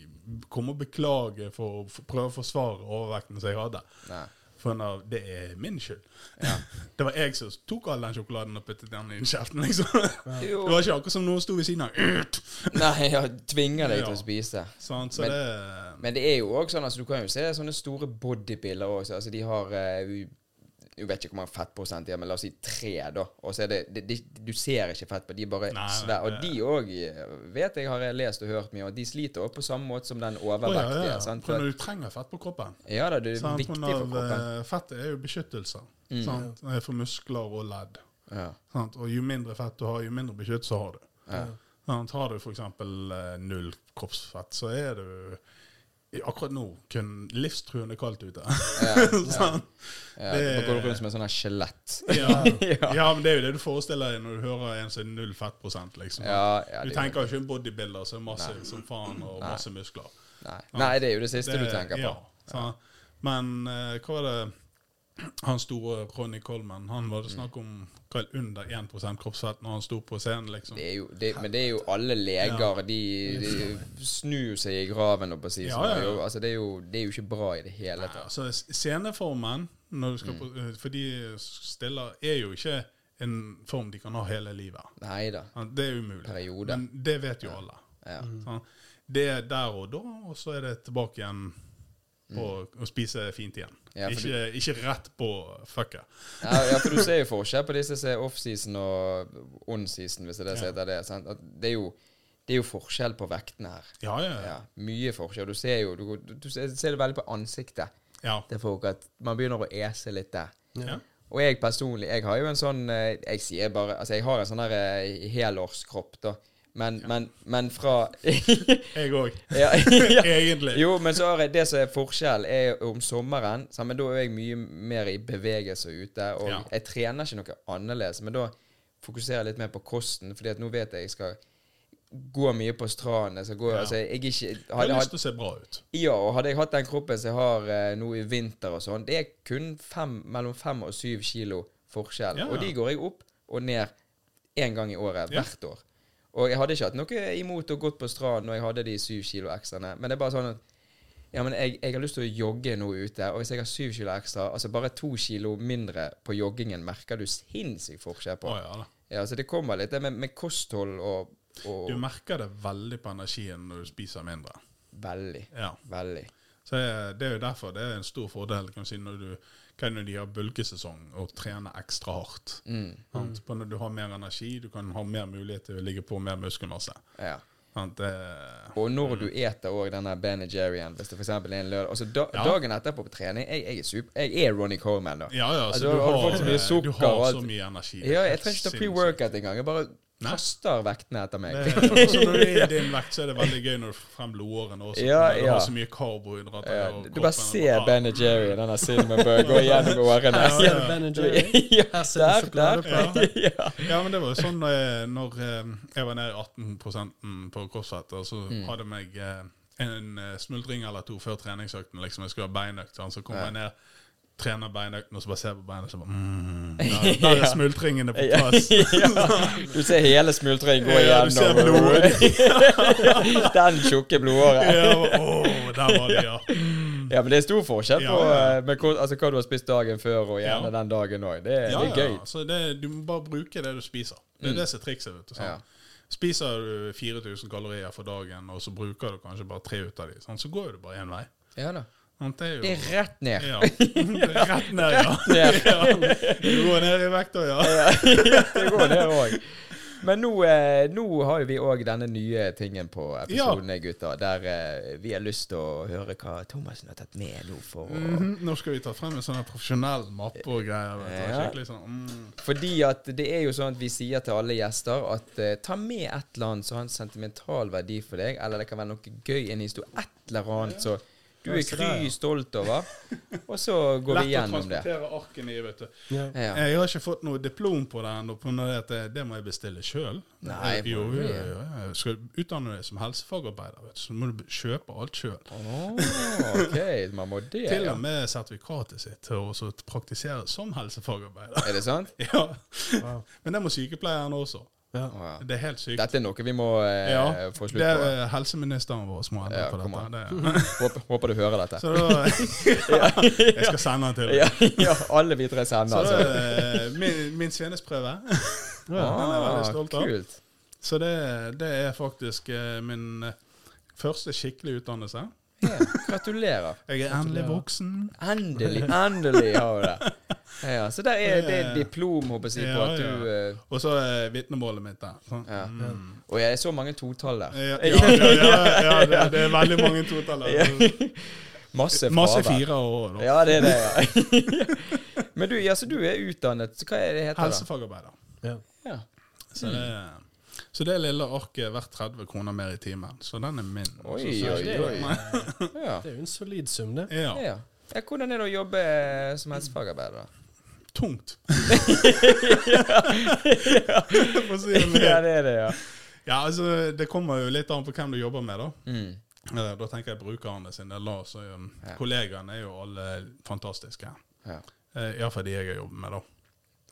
Komme og beklage for å f- prøve å forsvare overvekten som jeg hadde.
Nei.
For en av, det er min skyld. Det var jeg som tok all den sjokoladen og puttet den i kjeften. Liksom.
Jo.
Det var ikke akkurat som noen sto ved siden av.
Nei, jeg tvinger deg
Ja.
til å spise.
Sant, så
Men-
det
Men det er jo også sånn, altså, du kan jo se sånne store bodybuilder også. Altså, de har eh, u- Jeg vet ikke hvor mange fettprosent de har, men la oss si tre, da. Og så er det, de, de, Du ser ikke fett på de er bare
Nei,
svære. Og
det-
de òg, vet jeg, har jeg lest og hørt mye om, at de sliter også på samme måte som den overvektige.
Å, ja, ja.
sant?
For
For,
når du trenger fett på kroppen
ja da, det er
sant,
viktig
på grunn
for
av,
kroppen. Mm.
eh, Fett er jo beskyttelse sant, for muskler og ledd.
Ja.
Sant? Og jo mindre fett du har, jo mindre beskyttelse har du. Sant? Har du f.eks. null kroppsfett, så er du i- akkurat nå kun livstruende kaldt ute. sant?
Ja,
Det-
det, går rundt som et sånt her skjelett.
Ja. ja, men det er jo det du forestiller deg når du hører en som er null fettprosent, liksom.
Ja, ja,
du
det-
tenker jo ikke en bodybuilder som er massiv som faen og masse muskler.
Nei. Nei, det er jo det siste du tenker på.
Ja, sant? Men eh, hva var det han store Ronny Coleman Han var det snakk om hva, under 1 kroppsfett når han sto på scenen, liksom.
Det er jo, det, men det er jo alle leger. De, de snur seg i graven, og på å si
Ja,
sånn.
ja, ja.
Jo, Altså, det, er jo, det er jo ikke bra i det hele tatt.
Ja, så s- sceneformen, når du skal på,
Mm.
eh, for de stiller, er jo ikke en form de kan ha hele livet.
Nei da.
Ja, Det er umulig.
Periode.
Men det vet jo alle.
Ja.
Sånn. Det er der og da, og så er det tilbake igjen på å spise fint igjen.
Mm. Ja, for
ikke, ikke rett på fucket.
Ja, ja, for du ser jo forskjell på disse som er offseason og onseason, hvis det er det som heter det. Sant? At det, er jo, det er jo forskjell på vektene her.
Ja, ja, ja.
Ja, mye forskjell. Du ser jo du, du ser, ser det veldig på ansiktet
ja.
til folk at man begynner å ese litt der.
ja.
Og jeg personlig, jeg har jo en sånn eh, Jeg sier bare Altså, jeg har en sånn her eh, helårskropp, da. Men, men, men fra
Jeg òg.
ja, ja.
Egentlig.
Jo, men så har jeg, det som er forskjell, er om sommeren så, Men da er jeg mye mer i bevegelse ute. Og
Ja.
jeg trener ikke noe annerledes, men da fokuserer jeg litt mer på kosten. Fordi at nå vet jeg jeg skal gå mye på stranden. Jeg skal gå
Ja.
Altså, jeg er ikke
Jeg har
hadde,
lyst
hadde,
til å se bra ut.
Ja, og hadde jeg hatt den kroppen som jeg har eh, nå i vinter og sånn, det er kun fem, mellom fem og syv kilo forskjell.
Ja.
Og de går jeg opp og ned én gang i året
Ja.
hvert år. Og jeg hadde ikke hatt noe imot å gått på stranden når jeg hadde de syv kilo ekstraene, men det er bare sånn at ja, men jeg, jeg har lyst til å jogge nå ute, og hvis jeg har syv kilo ekstra, altså bare to kilo mindre på joggingen, merker du sinnssyk forskjell
Å,
på.
ja, da.
Ja, så det kommer litt det med, med kosthold og, og
Du merker det veldig på energien når du spiser mindre.
Veldig.
Ja.
Veldig.
Så det er jo derfor det er en stor fordel kan du si, når du kan jo de har bulkesesong og trene ekstra hardt.
Mm.
Sant? På Når du har mer energi, du kan ha mer mulighet til å ligge på mer muskelmasse.
Ja.
Sant? Det,
Og når du eter òg denne Ben Jerry'en, hvis det f.eks. er en lørdag altså da,
Ja.
Dagen etterpå på trening Jeg, jeg er super, jeg er Ronny Coleman, da.
Ja, ja, så
Altså,
du,
har du
har,
fått så mye
eh,
sukker
du har
og alt?
så mye energi.
Ja, jeg trenger ikke ta pre-workout engang. Jeg bare
Nei.
kaster vektene etter meg.
Også når du er i din vekt, så er det veldig gøy når du får frem blodårene også.
Ja,
når du
ja.
har så mye karbohydrater.
Ja,
og
du bare
kroppen-
ser Ben Jerry, denne cinnamon burger, gå gjennom årene.
Ja,
Ser
ja.
du Ben Jerry?
Ja,
Her ser du
der,
sjokolade
der.
på.
Ja.
Ja, men det var jo sånn når jeg, når eh, jeg var nede i 18 på kroppsfett, og så
Mm.
hadde jeg meg eh, en eh, smuldring eller to før treningsøkten, liksom jeg skulle ha beinøkt, sånn, så kom jeg ned, trener beinøkten, og så bare ser jeg på beinøkten, så bare, mm, der, der er smultringene på
Ja.
plass.
Du ser hele smultringen gå
Ja, du ser
igjennom. Den tjukke blodåren.
Ja, åh, der var det, ja.
Ja, men det er stor forskjell
Ja,
på
ja.
eh, med, hvor- altså, hva du har spist dagen før, og gjerne
Ja.
den dagen òg. Det,
Ja,
det er gøy. Mm.
ja. Så det, du må bare bruke det du spiser. Det er det som er trikset. vet du. sant?
Ja.
Spiser du 4000 kalorier for dagen, og så bruker du kanskje bare tre ut av dem, så går jo det bare én vei.
Ja da.
Sant? Det er jo
Det er rett ned.
ja. Rett ned, ja.
ned.
ja. Du går ned i vekt òg, ja.
Det går, det òg. Men nå, eh, nå har jo vi òg denne nye tingen på episodene, gutter, der eh, vi har lyst til å høre hva Thomassen har tatt med nå for å
Mhm, Nå skal vi ta frem en sånn her profesjonell mappe og greier. Vet du.
Ja.
Skikkelig sånn mm.
Fordi at det er jo sånn at vi sier til alle gjester at eh, ta med et eller annet som har en sentimental verdi for deg, eller det kan være noe gøy, en historie, et eller annet som du
Ja,
er
se der, ja.
kry stolt over, og så går vi
Lett å
gjennom det.
transportere arkene i, vet du.
Ja.
Ja.
Jeg har ikke fått noe diplom på det ennå, på grunn av at eh, det- det må jeg bestille sjøl.
Nei,
jo,
må
jo,
du
jo,
det?
jo. Skal du utdanne deg som helsefagarbeider, vet du, så må du kjøpe alt sjøl.
Åh, ok, man må det,
Til
ja.
og med sertifikatet sitt til å også praktisere som helsefagarbeider.
Er det sant?
Ja,
Wow.
Men det må sykepleieren også.
Ja.
Åh, ja.
Det er helt sykt.
Dette er noe vi må eh,
Ja,
få
Det
slutt på.
er eh, helseministeren vår som må endre
Ja,
på
kom
dette.
an.
Det.
Håper, håper du hører dette.
Så da Jeg skal sende den til deg.
Ja, ja, alle vi tre sender,
Så da
altså.
er det min, min svennesprøve. den er jeg veldig stolt av.
Ah, kult.
Så det, det er faktisk eh, min eh, første skikkelige utdannelse.
Ja, gratulerer.
Jeg er endelig voksen.
Endelig, endelig har vi det. Ja, Ja, så der er det
Ja,
et
ja.
diplom, håper jeg, på
Ja,
at du eh,
Og så er vitnemålet mitt der. Sånn.
Ja.
Mm.
Og jeg er så mange totall der.
Ja, ja, ja, ja, ja det, det er veldig mange totaller.
Masse
Masse
fravær.
fire år. da.
Ja, det er det, ja. Men du, ja, så du er utdannet så Hva er det heter det?
Helsefagarbeider.
Ja.
Ja.
Så det, så det lille arket er verdt 30 kroner mer i timen. Så den er min.
Oi,
Så- så-
oi,
Det er jo-
oi. Ja.
Det er jo en solid sum, det.
Ja.
Ja. ja. Hvordan er det å jobbe eh, som helsefagarbeider? da?
Tungt. For å si det
Ja,
mildt.
det er det, ja.
Ja, altså, det kommer jo litt an på hvem du jobber med, da.
Mm.
Eh, Da tenker jeg brukerne sin del. da, så, um,
Ja.
Kollegaene er jo alle fantastiske. Eh,
ja.
Iallfall de jeg har jobbet med, da.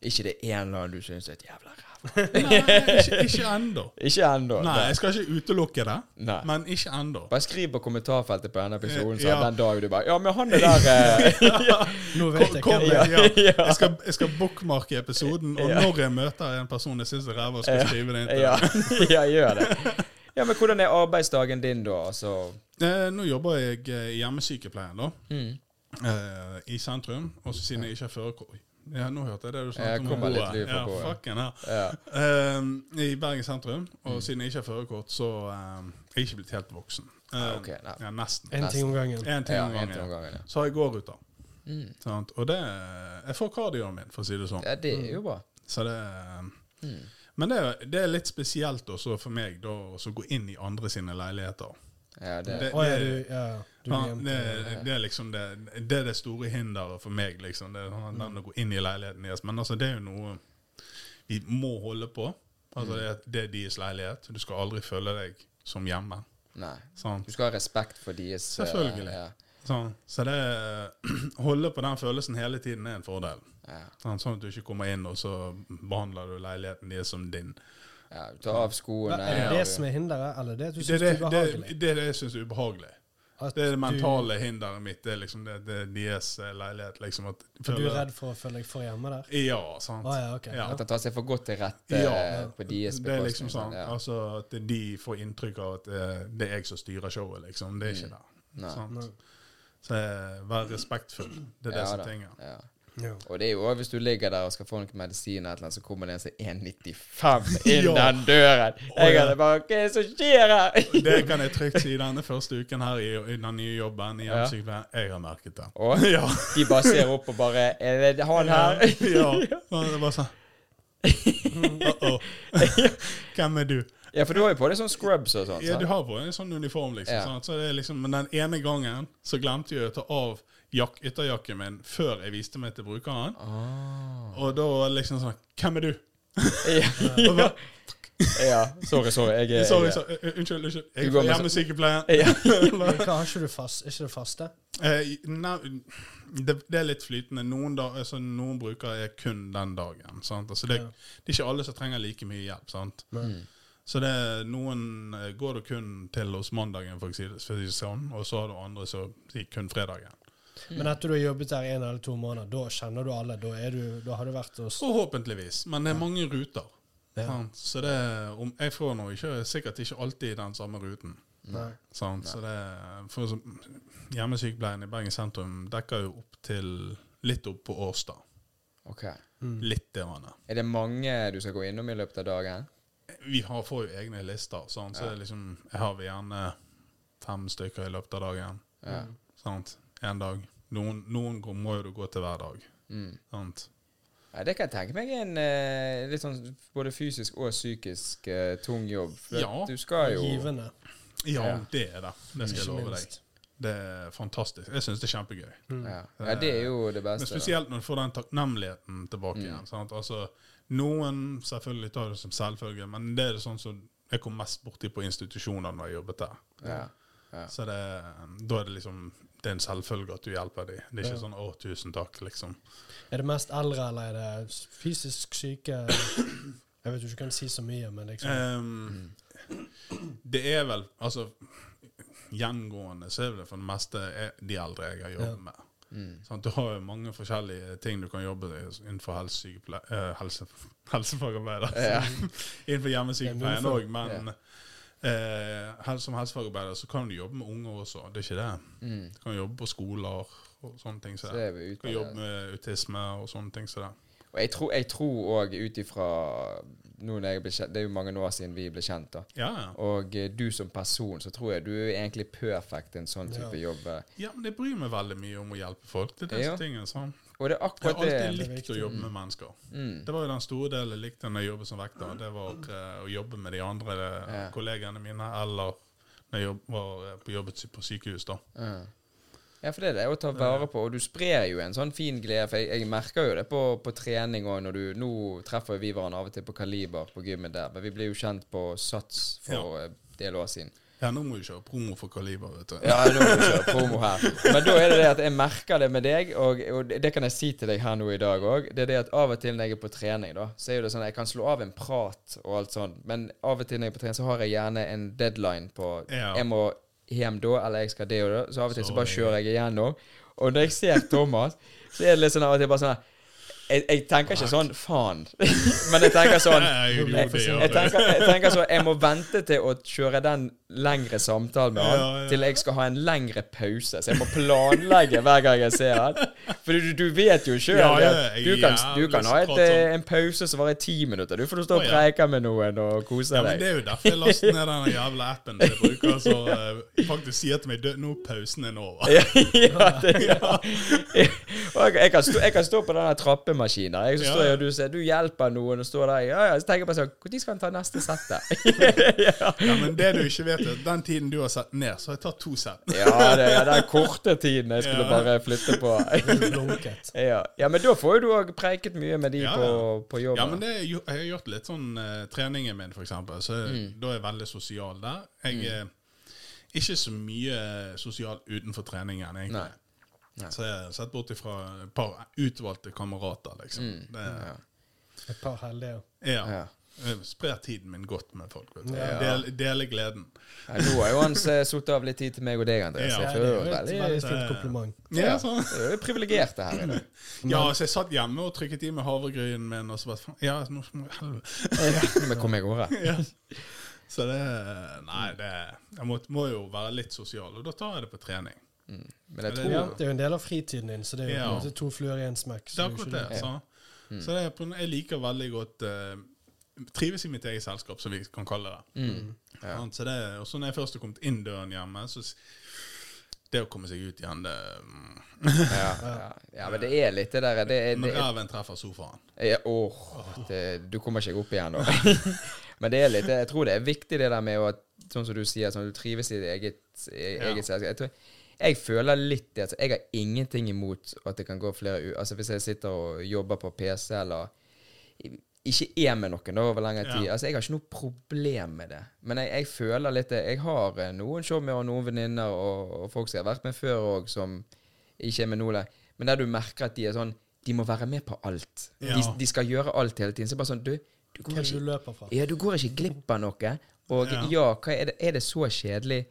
Ikke det en eller annen du syns er et jævla ræv.
Nei, ikke, ikke ennå.
Ikke ennå.
Nei, jeg skal ikke utelukke det,
Nei.
men ikke ennå.
Bare skriv på kommentarfeltet på denne episoden så
Ja.
den dag du bare Ja, men han er der eh.
Nå
Kom,
vet jeg
kom,
hvem det
ja.
er.
Jeg skal, jeg skal bookmarke episoden, og
Ja.
når jeg møter en person jeg syns er ræva, skal jeg skrive det inn til
ja. ja, gjør det. Ja, men hvordan er arbeidsdagen din da? Altså
Eh, nå jobber jeg eh, i hjemmesykepleien, da.
Mm.
Eh, I sentrum. Og så siden jeg ikke har førerkort Ja, nå hørte jeg det du
Jeg
snakket om.
kommer litt
boet.
lyd fra
ja,
boet.
fucken, ja.
ja.
Eh, I Bergen sentrum.
Mm.
Og siden jeg ikke har førerkort, så eh, er jeg ikke blitt helt voksen. Eh,
Ah, ok, nei.
ja, nesten.
En ting om gangen.
Én ting
Ja,
om
en til om
gangen.
gangen. Ja.
Så har jeg gåruta.
Mm.
Sant? Og det eh, Jeg får kardioen min, for å si det sånn.
ja, det er jo bra.
Så det eh,
Mm.
Men det er, det er litt spesielt også for meg da, å så gå inn i andre sine leiligheter.
Ja, det,
Det-
Å ja, du, ja, ja. du
Ja,
blir hjemme.
det, det er liksom det, det er det store hinderet for meg, liksom. Det er sånn,
Mm.
den å gå inn i leiligheten deres. Men altså, det er jo noe vi må holde på.
Mm.
Altså, det, er- det er deres leilighet. Du skal aldri føle deg som hjemme.
Nei.
Sant?
Du skal ha respekt for deres eh,
Selvfølgelig.
Ja,
Sånn. Så det holde på den følelsen hele tiden er en fordel.
ja.
Sånn, sånn at du ikke kommer inn og så behandler du leiligheten deres som din.
ja. Du tar av skoene.
Men er det
ja.
det som er hinderet, eller det du
Det
syns
er
det
det,
er
det,
ubehagelig?
det, er det jeg syns er ubehagelig.
At
Det er det
du-
mentale hinderet mitt. Det er liksom det, det er deres leilighet. Liksom, at,
For du er redd for å føle deg for hjemme der?
Ja, sant.
Å ja, ok.
Ja.
At han tar seg for godt til rette
Ja.
eh, på deres
Det er liksom sånn,
Ja.
altså At de får inntrykk av at eh, det er jeg som styrer showet, liksom. Det er ikke det.
Mm. Nei.
Sant?
Nei.
Så eh, vær respektfull. Det er det
Ja,
som
da.
trenger.
Ja.
Ja.
Og det er jo også hvis du ligger der og skal få noe medisin, eller noe, så kommer det en som er 1,95 inn
Ja.
den døren.
Å,
Jeg
ja.
hadde bare Hva er det som skjer her?
Det kan jeg trygt si denne første uken her i, i den nye jobben i
Ja.
hjemmesykepleien. Jeg har merket det.
Og
Ja.
de bare ser opp og bare Er det han her?
ja. Så Det var sånn Uh-oh. Hvem er du?
Ja, for du har jo på deg sånn scrubs og sånn.
Ja, du
sant?
har på en sånn uniform, liksom.
Ja.
Sant? Så det er liksom men den ene gangen så glemte jeg å ta av jak ytterjakken min før jeg viste meg til brukeren. Og da var det liksom sånn Hvem er du?
Ah. Ja.
Og bare,
ja. Sorry, sorry. Jeg er
sorry,
jeg er-
sorry, uh, unnskyld, unnskyld.
Du
Jeg
går
er
med
hjemmesykepleien.
Ja.
Men Hva, har ikke du fast, er ikke det faste?
Eh, nei, det, det er litt flytende. Noen, da, altså, noen brukere er kun den dagen. Sant? Altså, det,
Ja.
det er ikke alle som trenger like mye hjelp. Sant?
Mm.
Så det, er noen eh, går du kun til hos mandagen, for å si det for å si det sånn, og så har du andre som sier kun fredagen.
Men etter du har jobbet der en eller to måneder, da kjenner du alle? Da, er du, da har du vært hos
Forhåpentligvis, men det er mange ruter.
Ja.
Sant? Så det, om, jeg får nå ikke, sikkert ikke alltid den samme ruten.
Nei.
Sant? Så det, for, som- hjemmesykepleien i Bergen sentrum dekker jo opp til litt opp på Årstad.
Ok.
Mm.
Litt det vannet.
Er det mange du skal gå innom i løpet av dagen?
Vi har, får jo egne lister, sånn, så det er liksom, jeg har gjerne fem stykker i løpet av dagen.
Ja.
Mm. Sant? En dag. Noen, noen går- må jo du gå til hver dag.
Mm.
Sant?
Nei, det kan jeg tenke meg er en eh, litt sånn både fysisk og psykisk eh, tung jobb. For
Ja.
at du skal jo
Givende,
Ja,
Ja.
det er det. Det skal jeg
ikke
love deg.
minst. Mm.
Det er fantastisk. Jeg syns det er kjempegøy.
ja. ja, det er jo det
Men
beste. da.
spesielt når du får den takknemligheten tilbake igjen. Sant? Altså, noen selvfølgelig tar det som selvfølge, men det er det sånn som jeg kom mest borti på institusjoner når jeg jobbet der.
Ja.
Så det, da er det liksom det er en selvfølge at du hjelper dem. Det er ikke
Ja.
sånn 'Å, tusen takk', liksom.
Er det mest eldre, eller er det fysisk syke? Jeg vet jo ikke om jeg kan si så mye, men liksom
Ehm, Det er vel Altså, gjengående så er det for det meste er de eldre jeg har jobbet med.
Mm.
Sant? du har jo mange forskjellige ting du kan jobbe med innenfor helsesykepleie, eh, helse, helsefagarbeider.
Ja.
innenfor
Ja,
hjemmesykepleien
men
òg, men eh, hel- som helsefagarbeider så kan du jobbe med unger også. Det er ikke det.
Mm.
Du kan jobbe på skoler og sånne ting. Så
Så
det.
er vi
Du kan jobbe
ute.
med autisme og sånne ting. Så det.
Og jeg tror- jeg tror òg ut ifra nå når jeg ble kjent Det er jo mange år siden vi ble kjent, da.
Ja, ja.
Og eh, du som person, så tror jeg du er egentlig perfekt i en sånn type jobb. eh.
ja, men jeg bryr meg veldig mye om å hjelpe folk. Det er det
Ja.
som tingen. Sånn.
Og det
Jeg
er
har
akkurat
alltid
det.
det er
likt å
viktig.
jobbe med mennesker.
Mm.
Det var jo den store delen jeg likte når jeg jobbet som vekter. Det var eh, å jobbe med de andre eh,
Ja.
kollegene mine, eller når jeg jobb, var eh, på jobbet sy- på sykehus, da.
Ja. Ja, for det er det å ta vare på, og du sprer jo en sånn fin glede. For jeg, jeg merker jo det på, på trening òg, når du Nå treffer jo vi hverandre av og til på Kaliber på gymmet der, men vi ble jo kjent på Sats for eh, del år siden.
Ja, nå må du kjøre promo for Kaliber, vet du.
Ja, nå må vi kjøre promo her. Men da er det det at jeg merker det med deg, og, og det- det kan jeg si til deg her nå i dag òg. Det er det at av og til når jeg er på trening, da, så er jo det sånn at jeg kan slå av en prat og alt sånn, men av og til når jeg er på trening, så har jeg gjerne en deadline på
Ja.
Jeg må hjem da, eller jeg skal det og da. Så av og til så
Så
bare
det-
kjører jeg igjennom. Og når jeg ser Thomas, så er det litt sånn av og til bare sånn her, jeg, jeg tenker ikke sånn 'faen', men jeg tenker sånn
Nei, jo,
Jeg-
det gjør
jeg
det.
tenker, jeg tenker så Jeg må vente til å kjøre den lengre samtalen med han
Ja, ja.
til jeg skal ha en lengre pause. Så jeg må planlegge hver gang jeg ser han. For du, du vet jo sjøl.
Ja, ja,
du, kan- du
jævlig
kan ha et,
pratsom.
eh, en pause som varer ti minutter. Du får stå og
Å, ja.
preike med noen og kose
Ja, men Det
deg.
er jo derfor jeg laster ned den jævla appen jeg bruker, så eh, faktisk sier til meg «Du, nå er pausen er over.
Ja, det, ja. Og jeg, jeg, kan stå, jeg kan stå på den der trappemaskinen. Jeg, så
Ja,
står jeg,
ja.
og du, ser, du hjelper noen og står der. Ja, ja, så tenker jeg bare sånn Når skal han ta neste sett, da?
Ja, men det du ikke vet, er at den tiden du har satt ned, så har jeg tatt to sett.
Ja, det, ja, den korte tiden jeg skulle
Ja.
bare flytte på.
lunket.
ja. ja, men da får jo du òg preiket mye med de
Ja,
på, på jobb.
Ja, men det, er jo- jeg har gjort litt sånn eh, treningen min, for eksempel. Så
Mm.
da er jeg veldig sosial der. Jeg er ikke så mye eh, sosial utenfor treningen, egentlig.
Nei. Nei.
Så jeg har sett bort ifra et par utvalgte kamerater, liksom. Det,
Et par heldige.
ja.
Mm. Ja.
Jeg Sprer tiden min godt med folk. Vet du.
Ja.
Del, dele gleden.
Ja, nå har jo han satt av litt tid til meg og deg, André.
Ja.
Så jeg
Ja, det er jo
føler
et
veldig
veldig fint kompliment.
Ja, sånn.
Det er privilegert, det her. i dag.
ja, så jeg satt hjemme og trykket i med havregrynen min, og så bare faen, Ja, nå må jeg helvete.
Men kom jeg over?
Ja. Så det Nei, det Jeg må, må jo være litt sosial, og da tar jeg det på trening.
Men jeg
Ja, det-
tror
Ja, det er jo en del av fritiden din, så det er jo på en
Ja.
måte to fluer i en smekk.
Det
så
er
jo
akkurat
ikke
det. Så, så det er på, en- jeg liker veldig godt eh, Trives i mitt eget selskap, som vi kan kalle det.
ja.
Sant? Så det er- og så når jeg først har kommet inn døren hjemme, så s- Det å komme seg ut igjen, det mm.
ja, ja. ja, men det er litt det der det, er-
Når
det, er-
reven treffer sofaen.
Ja, åh, det, du kommer ikke opp igjen da. Men det er litt, jeg tror det er viktig det der med å, sånn som du sier, sånn, du trives i ditt eget, e-
Ja.
eget selskap. Jeg, tror, jeg føler litt det, altså, jeg har ingenting imot at det kan gå flere uker. Altså hvis jeg sitter og jobber på PC eller ikke er med noen da over lengre tid.
Ja.
Altså, Jeg har ikke noe problem med det. Men jeg, jeg føler litt det. Jeg har eh, noen showmer og noen venninner og, og folk som jeg har vært med før òg, som ikke er med nå. le- Men der du merker at de er sånn De må være med på alt.
Ja.
De, de skal gjøre alt hele tiden. Så bare sånn Du, du går
Hvem du
ikke
løper fra.
ja, du går ikke glipp av noe. Og ja,
Ja.
hva er, det, er det så kjedelig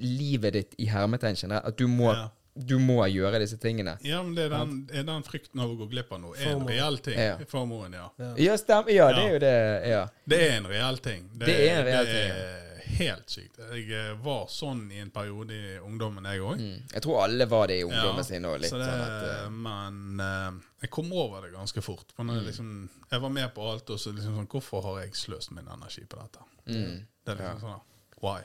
livet ditt i hermetegn generelt, at du må,
Ja.
du må gjøre disse tingene?
Ja, men det er den, er den frykten av å gå glipp av noe er en
FOMO.
reell ting.
Ja.
Formoen, ja.
Ja, stemmer. Ja, det
Ja.
er jo det. Ja.
Det er en reell ting.
Det er en reell
det er helt sykt. Jeg eh, var sånn i en periode i ungdommen, jeg òg.
Mm. Jeg tror alle var det i ungdommen sin òg.
så det-
Sånn at, eh, Mm.
men eh, jeg kom over det ganske fort. For når jeg, liksom, jeg var med på alt, og så liksom sånn Hvorfor har jeg sløst min energi på dette?
mm.
Det er liksom sånn da, Why?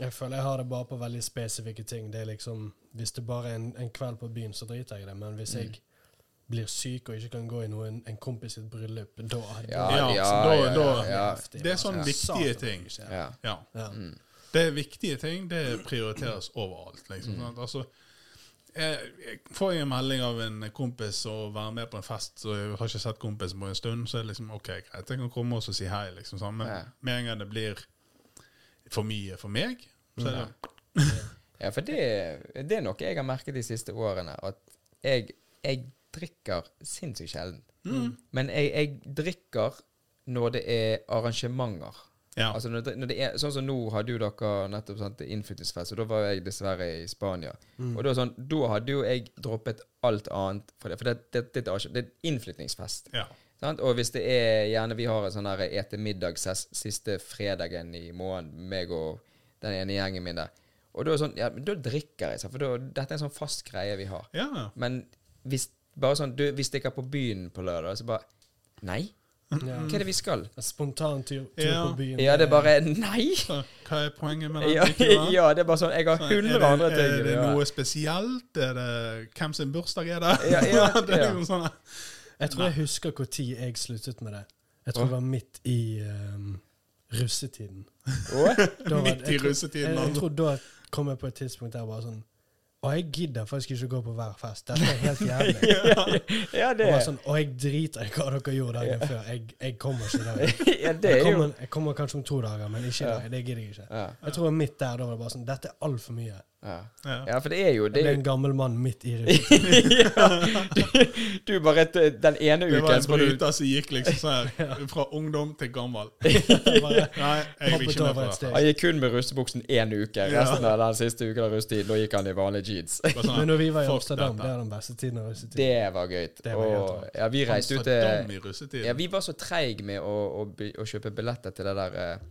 Jeg føler jeg har det bare på veldig spesifikke ting. Det er liksom, Hvis det bare er en, en kveld på byen, så driter jeg i det. Men hvis
Mm.
jeg blir syk og ikke kan gå i noe, en, en kompis sitt bryllup, da
ja,
Ja,
ja,
så
ja,
da-
ja,
da-
ja, ja.
Det er sånne
altså.
viktige ting.
eh, ja. Mm.
Ja.
Ja.
Det er viktige ting. Det prioriteres overalt.
Mm.
liksom. Sant? Altså, jeg, jeg får jeg en melding av en kompis og være med på en fest, så jeg har ikke sett kompisen på en stund, så er det liksom OK, greit, jeg kan komme også og si hei, liksom. Sant? Men
Ja.
med en gang det blir for mye for meg, så er det
Mm. Ja, for det, det er noe jeg har merket de siste årene, at jeg, jeg drikker sinnssykt sjelden.
Mm.
Men jeg, jeg drikker når det er arrangementer.
Ja.
Altså når det, når det er, sånn som nå har du dere nettopp sant, innflyttingsfest, og da var jeg dessverre i Spania. Og da, sånn, da hadde jo jeg droppet alt annet for det, for det, det, det, er ikke- det er innflyttingsfest.
ja.
Sant? Og hvis det er gjerne vi har en sånn her ete middag ses- siste fredagen i måneden, meg og den ene gjengen min der. Og da er det sånn, ja, men da drikker jeg, sant? for da, dette er en sånn fast greie vi har.
Ja, ja.
Men hvis bare sånn, du, vi stikker på byen på lørdag, så bare Nei? Hva er det vi skal?
En spontan tur, tur
Ja.
på byen.
Ja, det er bare Nei!
Så, hva er poenget med den
Ja,
drikken, da?
ja, det er bare sånn Jeg har
Sånn,
hundre
er
andre
det,
ting.
Er det
ja.
noe spesielt? Er det hvem sin bursdag er det?
Ja, ja,
det er
ja.
liksom sånn
Jeg tror jeg husker når jeg sluttet med det. Jeg tror det var midt i ehm, russetiden.
Å?
Da var det-
Midt i
jeg tror-
russetiden,
Jeg, jeg
altså.
tror da kom jeg på et tidspunkt der bare sånn Og jeg gidder faktisk ikke gå på hver fest. Dette er helt jævlig.
Ja,
Og,
det
bare sånn, og jeg driter i hva dere gjorde dagen før. Jeg, jeg kommer ikke i dag.
ja, det
Jeg
er jo
kommer, jeg kommer kanskje om to dager, men ikke i dag. Det gidder jeg ikke.
ja,
Jeg tror midt der da var det bare sånn Dette er altfor mye.
ja.
ja.
ja, for det er jo
Jeg
det er
ble
jo
en gammel mann midt i russetiden.
ja. du, du bare t- Den ene
Det var
uken
en
så var du
bryter som gikk liksom sånn her, fra ungdom til gammel.
Bare
Nei, jeg vil
hoppet
ikke med
over
på
et
dette.
steg.
Han gikk kun med russebuksen én uke.
Ja.
Resten av den siste uken av russetid, da gikk han i vanlige jeans.
Bare sånn,
Men når vi var i
fuck
Amsterdam,
dette.
det er den beste tiden av russetiden.
Det var gøy.
Det var helt
Og
rått.
ja, vi reiste ut til
Amsterdam i russetiden.
ja, Vi var så treige med å, å, by- å kjøpe billetter til det der eh,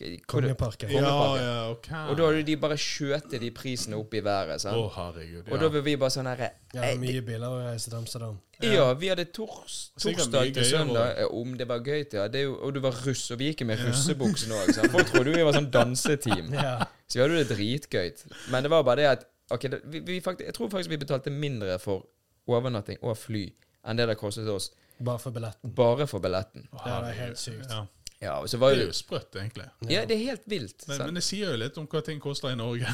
hvor det-
Kongeparken.
ja,
Kongeparken.
ja, ok.
Og da hadde de bare skjøtet de prisene opp i været.
Å,
Sant?
herregud.
Og da var vi bare sånn herre
Ja, det er mye biler å reise til Amsterdam.
Ja, vi hadde tors,
Sikkert mye
torsdag til
gøyere
søndag. eh, Om det var gøy, ja. Det er jo, og du var russ, og vi gikk jo med russebuksen òg. Folk trodde vi var sånn danseteam.
Ja.
Så vi hadde jo det dritgøy. Men det var bare det at ok, det, vi, vi faktisk, Jeg tror faktisk vi betalte mindre for overnatting og fly enn det det kostet oss
Bare for billetten.
bare for billetten.
Å,
det er
herregud.
helt sykt.
Ja.
Ja, og så
Det
var
er
jo
jo sprøtt, egentlig.
Ja, det er helt vilt.
Men,
sant?
men det sier jo litt om hva ting koster i Norge.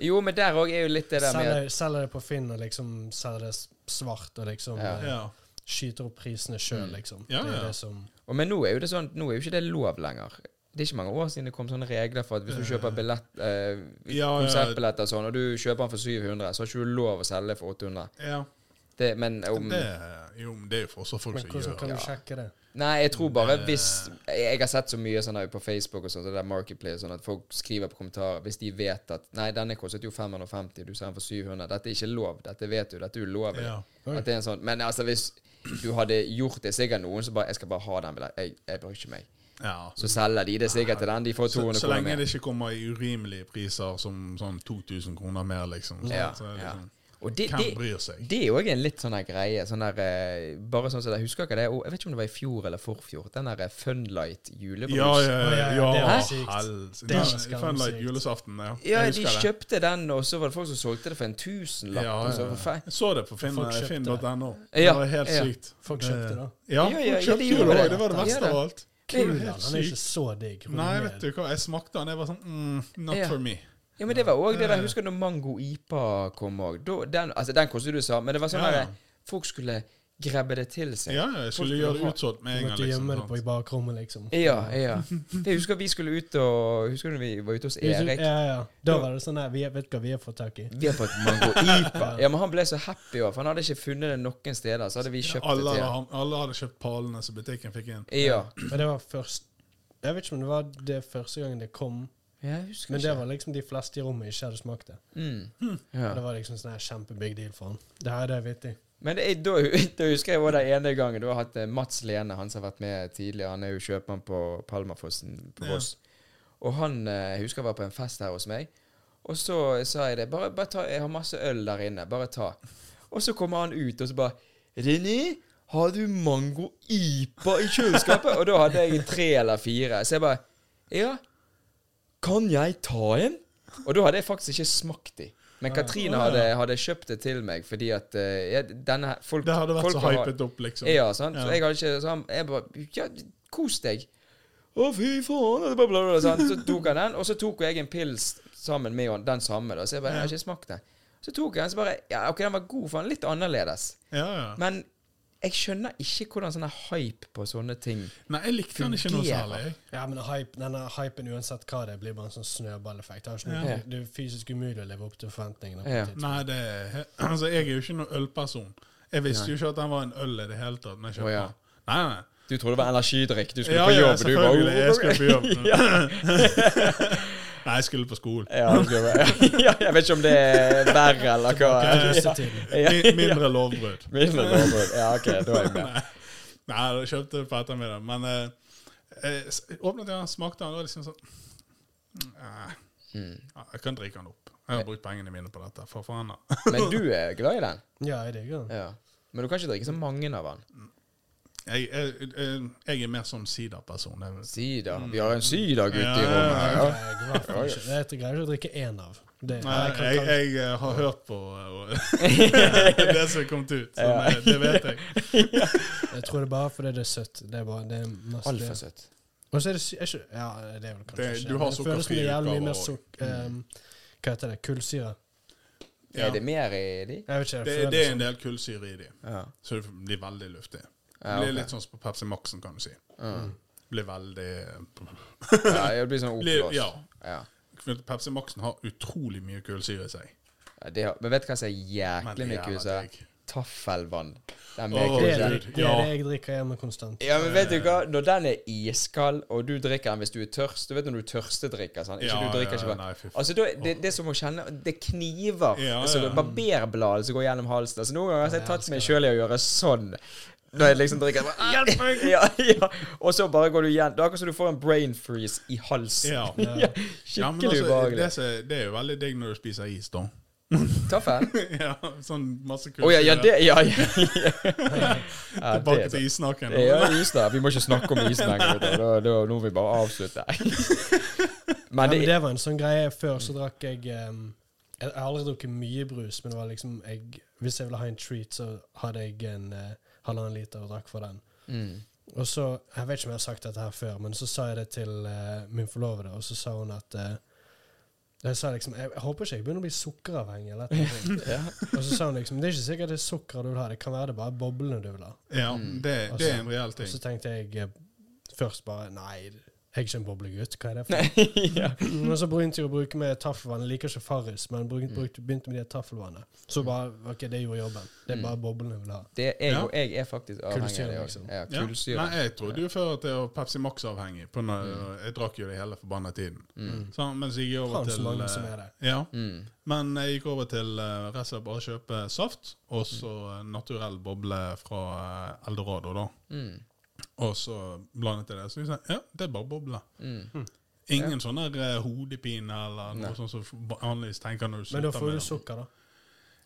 Jo, men der òg er jo litt det der med at
Selger, selger det på Finn og liksom selger det s- svart og liksom
Ja.
eh,
ja.
skyter opp prisene sjøl,
Mm.
liksom.
Ja,
Det
ja.
er det som
og, Men nå er jo det sånn Nå er jo ikke det lov lenger. Det er ikke mange år siden det kom sånne regler for at hvis du kjøper billett, eh,
Ja, ja.
konsertbilletter og sånn, og du kjøper den for 700, så har ikke du lov å selge for 800.
ja.
Det, men om
Det, jo, men det er jo for også folk
Men
som
hvordan
gjør
kan
det.
du sjekke det?
Nei, jeg tror bare hvis Jeg har sett så mye sånn her på Facebook og sånt, det der Marketplace, sånn at folk skriver på kommentarer hvis de vet at Nei, denne kostet jo 550, du selger den for 700. Dette er ikke lov. Dette vet du. Dette er ulovlig.
Ja.
At det er en sånn Men altså, hvis du hadde gjort det, sikkert noen som bare Jeg skal bare ha den. billetten. Jeg, jeg bruker ikke meg.
Ja.
Så selger de det sikkert til den. De får
Så,
200
så
kroner
lenge
mer.
det ikke kommer i urimelige priser som sånn 2000 kroner mer, liksom. Så,
Ja,
så er det
ja.
sånn,
Og det,
Hvem
det,
bryr seg?
det er jo også en litt sånn her greie. Sånn der, eh, bare sånn som jeg husker ikke det og Jeg vet ikke om det var i fjor eller forfjor. Den der eh, Funlight julebrus.
Ja, ja,
Å,
ja.
ja, ja,
ja,
det er
ja
sykt.
helse.
Det er
Ja,
skamsykt.
Funlight julesaften, ja.
Ja,
Jeg
de
husker det.
kjøpte den, og så var det folk som solgte det for en tusenlapp.
Ja,
og så
ja,
altså, for fe-
Jeg så det på Finn-
Folk kjøpte
finn.no.
Ja,
det var helt
ja.
sykt.
Folk kjøpte det.
Ja,
Ja,
folk
ja, ja, de
kjøpte jo
gjorde
det.
det.
Det var det
Ja,
verste
det.
av alt. Det var
Kulen
helt
han er ikke
sykt.
så digg. for
Nei,
den er-
vet du hva, jeg smakte den. Jeg var sånn mm, Not
Ja.
for me.
Ja, men det var òg det der. Husker du når Mango IPA kom òg? Da- Den, altså, den kostet du sa, men det var sånn
Ja,
at
ja.
folk skulle grabbe det til seg.
Ja, ja, jeg skulle
Folk
gjøre
ha-
det utsolgt med
Du
en gang.
måtte gjemme det på
Liksom,
i
sant?
bakrommet, liksom.
ja. ja. Jeg husker vi skulle ut og Husker du når vi var ute hos Erik?
Ja, ja. Da var det sånn her vi, Vet du hva vi har fått tak i?
Vi har fått Mango IPA. Ja, men han ble så happy òg, for han hadde ikke funnet det noen steder. Så hadde vi kjøpt
alle,
det
hadde,
til han.
ham- alle hadde kjøpt palene som butikken fikk inn.
Ja.
Men det var først Jeg vet ikke om det var det første gangen det kom,
Jeg husker
men det
ikke.
var liksom de fleste i rommet ikke hadde smakt det.
Mm. Ja.
Og Det var liksom sånn her kjempebig deal for han. Det her er det vittig.
Men det, er- da, da husker jeg også den ene gangen du har hatt eh, Mats Lene, han som har vært med tidligere. Han er jo kjøpmann på Palmafossen på
Ja.
Voss. Og han eh, jeg husker jeg var på en fest her hos meg. Og så sa jeg det. Bare, bare ta, jeg har masse øl der inne. Bare ta. Og så kommer han ut, og så bare René, har du mango-ipa i kjøleskapet? og da hadde jeg tre eller fire. Så jeg bare Ja, kan jeg ta en? Og da hadde jeg faktisk ikke smakt de. Men Katrine hadde, hadde kjøpt det til meg fordi at eh, jeg, denne, her- folk,
Det hadde vært
folk
så
har-
hypet opp, liksom.
ja, sant?
Ja.
Så jeg hadde ikke sånn Jeg bare Ja, kos deg. Å, fy faen! og Bla, bla, bla, sant? Så tok han den, og så tok jeg en pils sammen med han, den samme. da Så jeg bare Jeg har ikke smakt den. Så tok jeg den, så bare Ja, OK, den var god, for den er litt annerledes.
Ja, ja.
Men jeg skjønner ikke hvordan sånn her hype på sånne ting
Nei, jeg likte den ikke noe
Fungerer.
særlig. jeg.
Ja, men hype, denne hypen, uansett hva det er, blir, bare en sånn snøballeffekt. Det, har ikke
Ja.
noe- det er fysisk umulig å leve opp til forventningene. på
Ja.
et tidspunkt.
Nei, det er, he- altså, jeg er jo ikke noen ølperson. Jeg visste jo ikke at den var en øl i det hele tatt. Når jeg
Å,
kjøpte
ja.
den. Nei, nei.
Du trodde det var energidrikk, du skulle
Ja,
på
ja,
jobb, du bare
selvfølgelig. Jeg skulle på jobb.
ja,
Nei, jeg skulle på skolen.
ja, du skulle bare- ja, jeg vet ikke om det er verre eller hva.
Disse tidene.
Ja,
Mi- Eh, Mindre lovbrudd.
Mindre lovbrudd. Ja, OK, da er jeg med.
Nei, jeg kjøpte det på ettermiddag. Men eh, eh, s- åpnet jeg den, smakte den, og liksom sånn eh,
Mm.
ja, Jeg kan drikke den opp. Jeg har brukt pengene mine på dette. For faen, da.
Men du er glad i den?
Ja, jeg digger den.
Ja. Men du kan ikke drikke så mange av den.
Jeg, jeg, jeg, jeg er mer sånn siderperson. Jeg-
Sider. Vi har en sidergutt
Mm. Ja,
i
ja,
rommet. her,
Jeg
Ja.
greier i hvert fall ikke- jeg greier ikke å drikke én av. Det,
Nei,
jeg kan
jeg,
ta-
jeg, eh, har hørt på eh, og- det som er kommet ut. Så
Ja.
nei, det vet jeg.
jeg tror det er bare fordi det er søtt. Det er bare, det er masse
Altfor søtt.
Og så er det sy- er ikke, Ja, det er vel kanskje
Det-
ikke
du
men
har
det føles som det er
sukkerfrie
jævlig mye mer
utgaver
suk- ehm, Hva heter det? Kullsyre?
Ja.
Er det mer i de?
Jeg vet ikke.
Det,
føles
det er
sånn.
som-
en del kullsyre i dem,
Ja.
så det blir veldig luftig. Det
Ja,
blir
ok.
litt sånn som på Pepsi Maxen, kan du si. Det blir veldig eh,
ja det blir sånn
blir,
oppblåst.
Ja.
Ja.
Pepsi Maxen har utrolig mye kullsyre i seg.
Ja, Det, har- men vet du hva som er jæklig
Men
mye
jævla
kuser?
digg.
Taffelvann. Den
Åh,
meker
det,
ikke.
er
Gud,
det, det,
ja.
er det jeg drikker hjemme konstant.
Ja, men
Eh.
vet du hva? Når den er iskald, og du drikker den hvis du er tørst Du vet når du tørstedrikker, sant? Ikke
Ja,
du drikker
ja,
ikke bare
nei, fy faen.
Altså, da, det, det er som å kjenne Det kniver.
Ja,
Altså,
ja.
det er barberbladet som går gjennom halsen. Altså, noen ganger har jeg tatt
elsker
meg sjøl i å gjøre sånn. Da jeg liksom drikker bare, «Ah!» ja, ja. Og så bare går du igjen. Det er akkurat som du får en brain freeze i halsen.
Ja.
Ja,
Ja, men
Skikkelig
altså, det,
ubehagelig.
som- det er jo veldig digg når du spiser is, da.
Taffel?
ja, sånn masse
Å
kullsyre.
ja, ja, det Ja, ja. ja
Tilbake
det-
til issnaken.
Ja, is da. Vi må ikke snakke om isen lenger. vet du. Da, da, nå må vi bare avslutte.
Ja,
Men
men
det,
det var en sånn greie. Før så drakk jeg ehm, Jeg jeg har aldri drukket mye brus, men det var liksom jeg, Hvis jeg ville ha en treat, så hadde jeg en eh, halvannen liter og drakk for den.
mm,
Og så, Jeg vet ikke om jeg har sagt dette her før, men så sa jeg det til eh, min forlovede, og så sa hun at eh, Jeg sa liksom Jeg, jeg håper ikke jeg begynner å bli sukkeravhengig. eller et eller annet.
ja.
Og så sa hun liksom Det er ikke sikkert det er sukkeret du vil ha, det kan være det er bare boblene du vil ha.
Ja,
Mm.
det, det
Altså,
er en reell
Og
ting.
så tenkte jeg eh, først bare Nei, jeg er ikke en boblegutt, hva er det for
Nei, ja.
Men så begynte jeg å bruke med taffelvann. Jeg liker ikke Farris, men
Mm.
brukte, brukte, begynte med de taffelvannene. Så bare OK, det gjorde jobben. Det er
Mm.
bare boblene jeg vil ha.
Det er
Ja.
jo Jeg er faktisk avhengig
Kullsyre,
av det også.
liksom.
Ja,
Ja.
kullsyre. Mm.
Nei, jeg trodde jo før at jeg var Pepsi Max-avhengig. på når- Jeg drakk jo det hele forbanna tiden. Sånn, mens jeg gikk over
Mm. Faen, så
til
mange
eh,
som er det.
Ja,
Mm.
Men jeg gikk over til eh, rett og slett bare kjøpe saft, og
Mm.
så eh, naturell boble fra eh, Eldorado, da.
Mm.
Og så blandet jeg det. Så jeg sa ja, det er bare boble.
Mm.
Ingen sånne eh, hodepine eller noe
Nei.
sånt som vanligvis tenker når du
Men da
slutter
får
med
du
det.
sukker, da.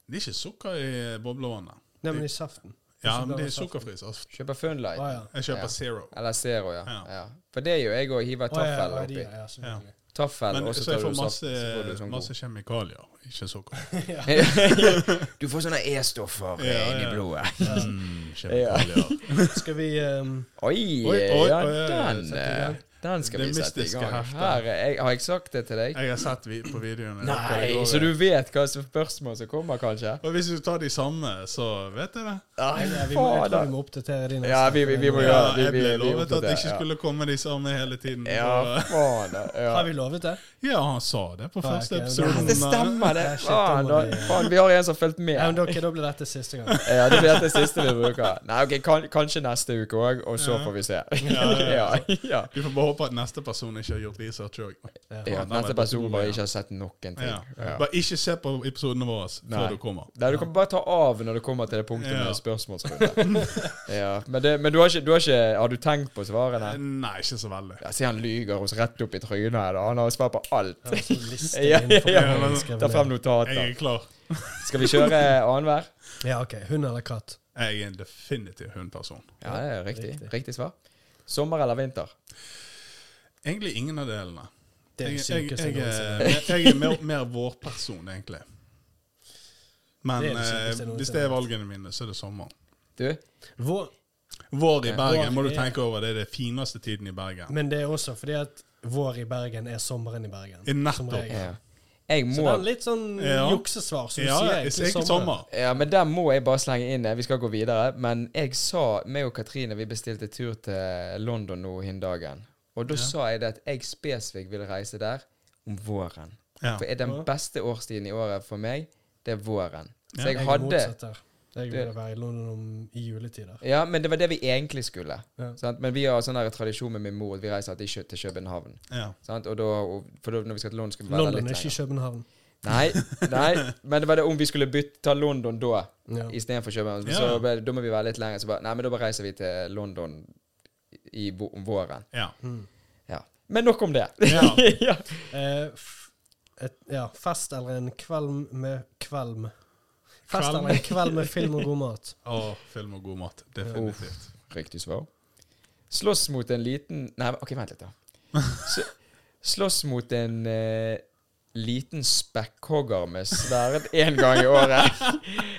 Det er ikke sukker i eh, boblevannet.
Nei, men i saften.
Ja,
Så
men det
blander
er
saften.
sukkerfri saft.
Kjøper Funlight.
Ah, ja.
Jeg kjøper
Ja.
zero.
Eller Zero, ja.
Ja.
ja. For det gjør jeg òg. Hiver
Å, ja,
taffel
ja, de,
oppi.
ja, selvfølgelig.
Taffel,
Men
og
så
så
jeg
tar
får
du saft.
masse,
Så får du sånn
masse kjemikalier, ikke sukker.
god. Du får sånne E-stoffer
Ja,
eh, inni
ja.
blodet.
Mm, kjemikalier.
Skal vi ehm,
Oi,
Oi, oi,
ja,
oi, oi,
den,
sett i
eh,
gang.
den skal
Det
vi sette i
mystiske
gang.
heftet.
Her, er jeg, har jeg sagt det til deg?
Jeg har sett vi på videoene.
Nei, så du vet hva som spørsmål som kommer, kanskje?
Og hvis du tar de samme, så vet jeg det.
Nei,
ja, vi må, jeg tror vi
fader.
må oppdatere de neste.
Ja, vi, vi, vi må gjøre det.
jeg
Vi,
ble
vi, vi
lovet at det
oppdaterer,
ikke skulle komme de samme hele tiden.
Ja, ja
så- eh,
fader. Ja.
Har vi lovet det?
ja, han sa det på
Nei,
første
ok,
episoden. eh,
Det stemmer, det.
Ja, shit,
Faen,
da
da,
må vi-
faen, vi har en som har fulgt med.
Ja, men dere, da blir dette siste gang.
Ja, det blir det siste vi bruker. Nei, ok, kan, Kanskje neste uke òg, og så får vi se.
Ja, ja,
Ja,
ja.
ja.
Vi får bare håper at neste person ikke har gjort research òg.
Ja,
Faen,
neste
den er
person bare
ja.
ikke har sett noen ting.
Ja.
Ja.
Bare ikke se på episodene våre
Nei.
før du kommer.
Nei, du kan bare ta av når du kommer til det punktet
Ja.
med spørsmålsrunde. ja. Men, det, men du, har ikke, du har ikke Har du tenkt på svarene?
Nei, ikke så veldig.
Jeg ser han lyger oss rett opp i trynet her. da. Han har svar på alt.
Jeg har en sånn liste
Ja, ja,
innenfor
ja,
hva jeg
men-
skrev
Ta frem
ned.
Jeg er
notater.
klar.
Skal vi kjøre eh, annenhver?
Ja, OK. Hund eller katt?
Jeg er en definitiv hundperson.
Ja, det er riktig.
Riktig.
Riktig svar. Sommer eller vinter?
Egentlig ingen av delene.
Det er det
jeg,
sykeste
jeg,
jeg
jeg,
noensinne
er- jeg er mer, mer vårperson, egentlig. Men
Det er det sykeste
eh,
jeg
hvis det er valgene mine, så er det sommer.
Du?
Vår-
Vår i
Ja.
Bergen må du
Vår er-
tenke over. Det er den fineste tiden i Bergen.
Men det er også fordi at vår i Bergen er sommeren i Bergen.
I
som
nettopp.
regel.
Ja. eh, Jeg
Så det
må
er litt sånn
Ja.
juksesvar, som
Ja,
du sier.
det er ikke sommer.
Ja, men der må jeg bare slenge inn eh, Vi skal gå videre. Men jeg sa meg og Katrine vi bestilte tur til London nå hin dagen. Og da sa jeg det at jeg spesifikt vil reise der om våren.
Ja.
For er den beste årstiden i året for meg, det er våren. Så
Ja.
jeg hadde
Jeg ville være i London om, i juletider.
Ja, men det var det vi egentlig skulle.
Ja.
Sant? Men vi har sånn her tradisjon med min mor at vi reiser alltid kjø- til København.
Ja.
Sant? Og da, og, for da, når vi skal til London, skal vi være der
London
litt
er ikke
lenger.
København.
Nei, nei, men det var det om vi skulle bytte, ta London da.
Ja.
istedenfor København.
Ja.
Så ble, det- da må vi være litt lenger. Så bare, nei, men da bare reiser vi til London i, vå- om våren.
Ja.
Hmm.
Ja. Men nok om det.
Ja.
ja.
Eh, f et, ja, fest eller en kveld med kvelm. Fest
Kvelm.
eller en kveld med film og god mat.
Og film og god mat. Definitivt.
Riktig svar. Slåss mot en liten Nei, ok, vent litt, da. S slåss mot en eh, liten spekkhogger med sverd én gang i året.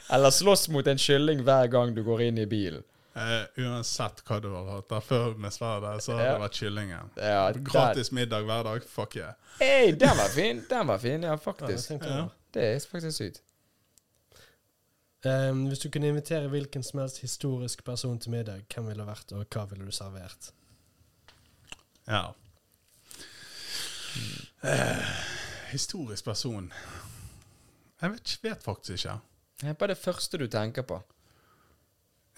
Eller slåss mot en kylling hver gang du går inn i bilen.
Eh, uansett hva du har hatt der før med sverdet, så har
Ja.
det vært kyllingen.
Ja, den,
Gratis middag hver dag. Fuck yeah.
hey, den var fin! Den var fin, ja,
Ja, jeg
faktisk.
tenkte
Ja.
det.
Det er faktisk sykt.
Eh, hvis du kunne invitere hvilken som helst historisk person til middag, hvem ville det vært, og hva ville du servert?
Ja. Eh, historisk person Jeg vet, ikke- vet faktisk ikke.
Nei, Bare det første du tenker på.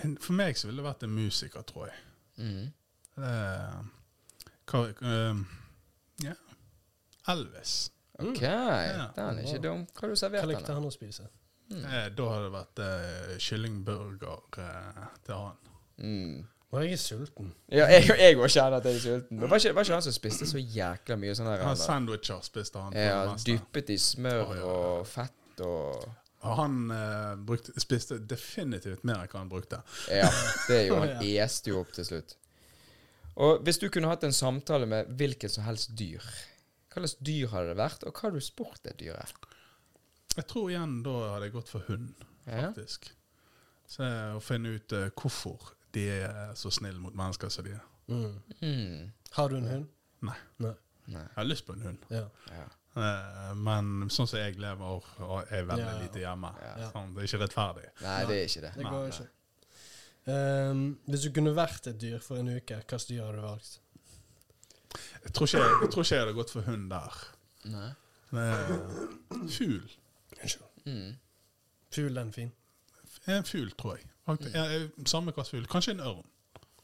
En- For meg så ville det vært en musiker, tror jeg.
Mhm.
Eh, hva, eh, ja. Elvis.
OK,
Mm. Ja.
den er ikke dum. Hva har du
Hva
servert
likte
den? da?
han å spise?
Mm.
Eh, da hadde det vært eh, kyllingburger eh, til han.
Mm.
Å, jeg er sulten.
Ja, jeg, jeg også kjenner at jeg er sulten. Men var ikke, var ikke han som spiste så jækla mye sånn her?
Han
eller?
sandwicher spiste han. for det
Ja,
meste.
dyppet i smør
Å, ja.
og fett og
Og han eh, brukte, spiste definitivt mer enn hva han brukte.
Ja, det er jo Han
Å,
este jo opp til slutt. Og hvis du kunne hatt en samtale med hvilket som helst dyr, hva slags dyr hadde det vært, og hva hadde du spurt det dyret?
Jeg tror igjen da hadde jeg gått for hund,
Ja.
faktisk. Så eh, Å finne ut eh, hvorfor de er så snille mot mennesker som de er.
Mm.
Mm.
Har du en hund?
Nei.
Nei.
Nei.
Jeg har lyst på en hund,
Ja.
Ja.
eh, men sånn som jeg lever, og er veldig
Ja.
lite hjemme.
Ja.
Sånn, det er ikke rettferdig.
Nei, det er ikke det.
Det
Nei, nei.
går ikke. Ehm, hvis du kunne vært et dyr for en uke, hva slags dyr hadde du valgt?
Jeg tror ikke jeg, jeg, tror ikke jeg hadde gått for hund der.
Nei.
Eh, Fugl.
Mm.
Fugl er fin.
En fugl, tror jeg. Faktisk,
Mm.
ja, eh, samme hva slags fugl. Kanskje en ørn.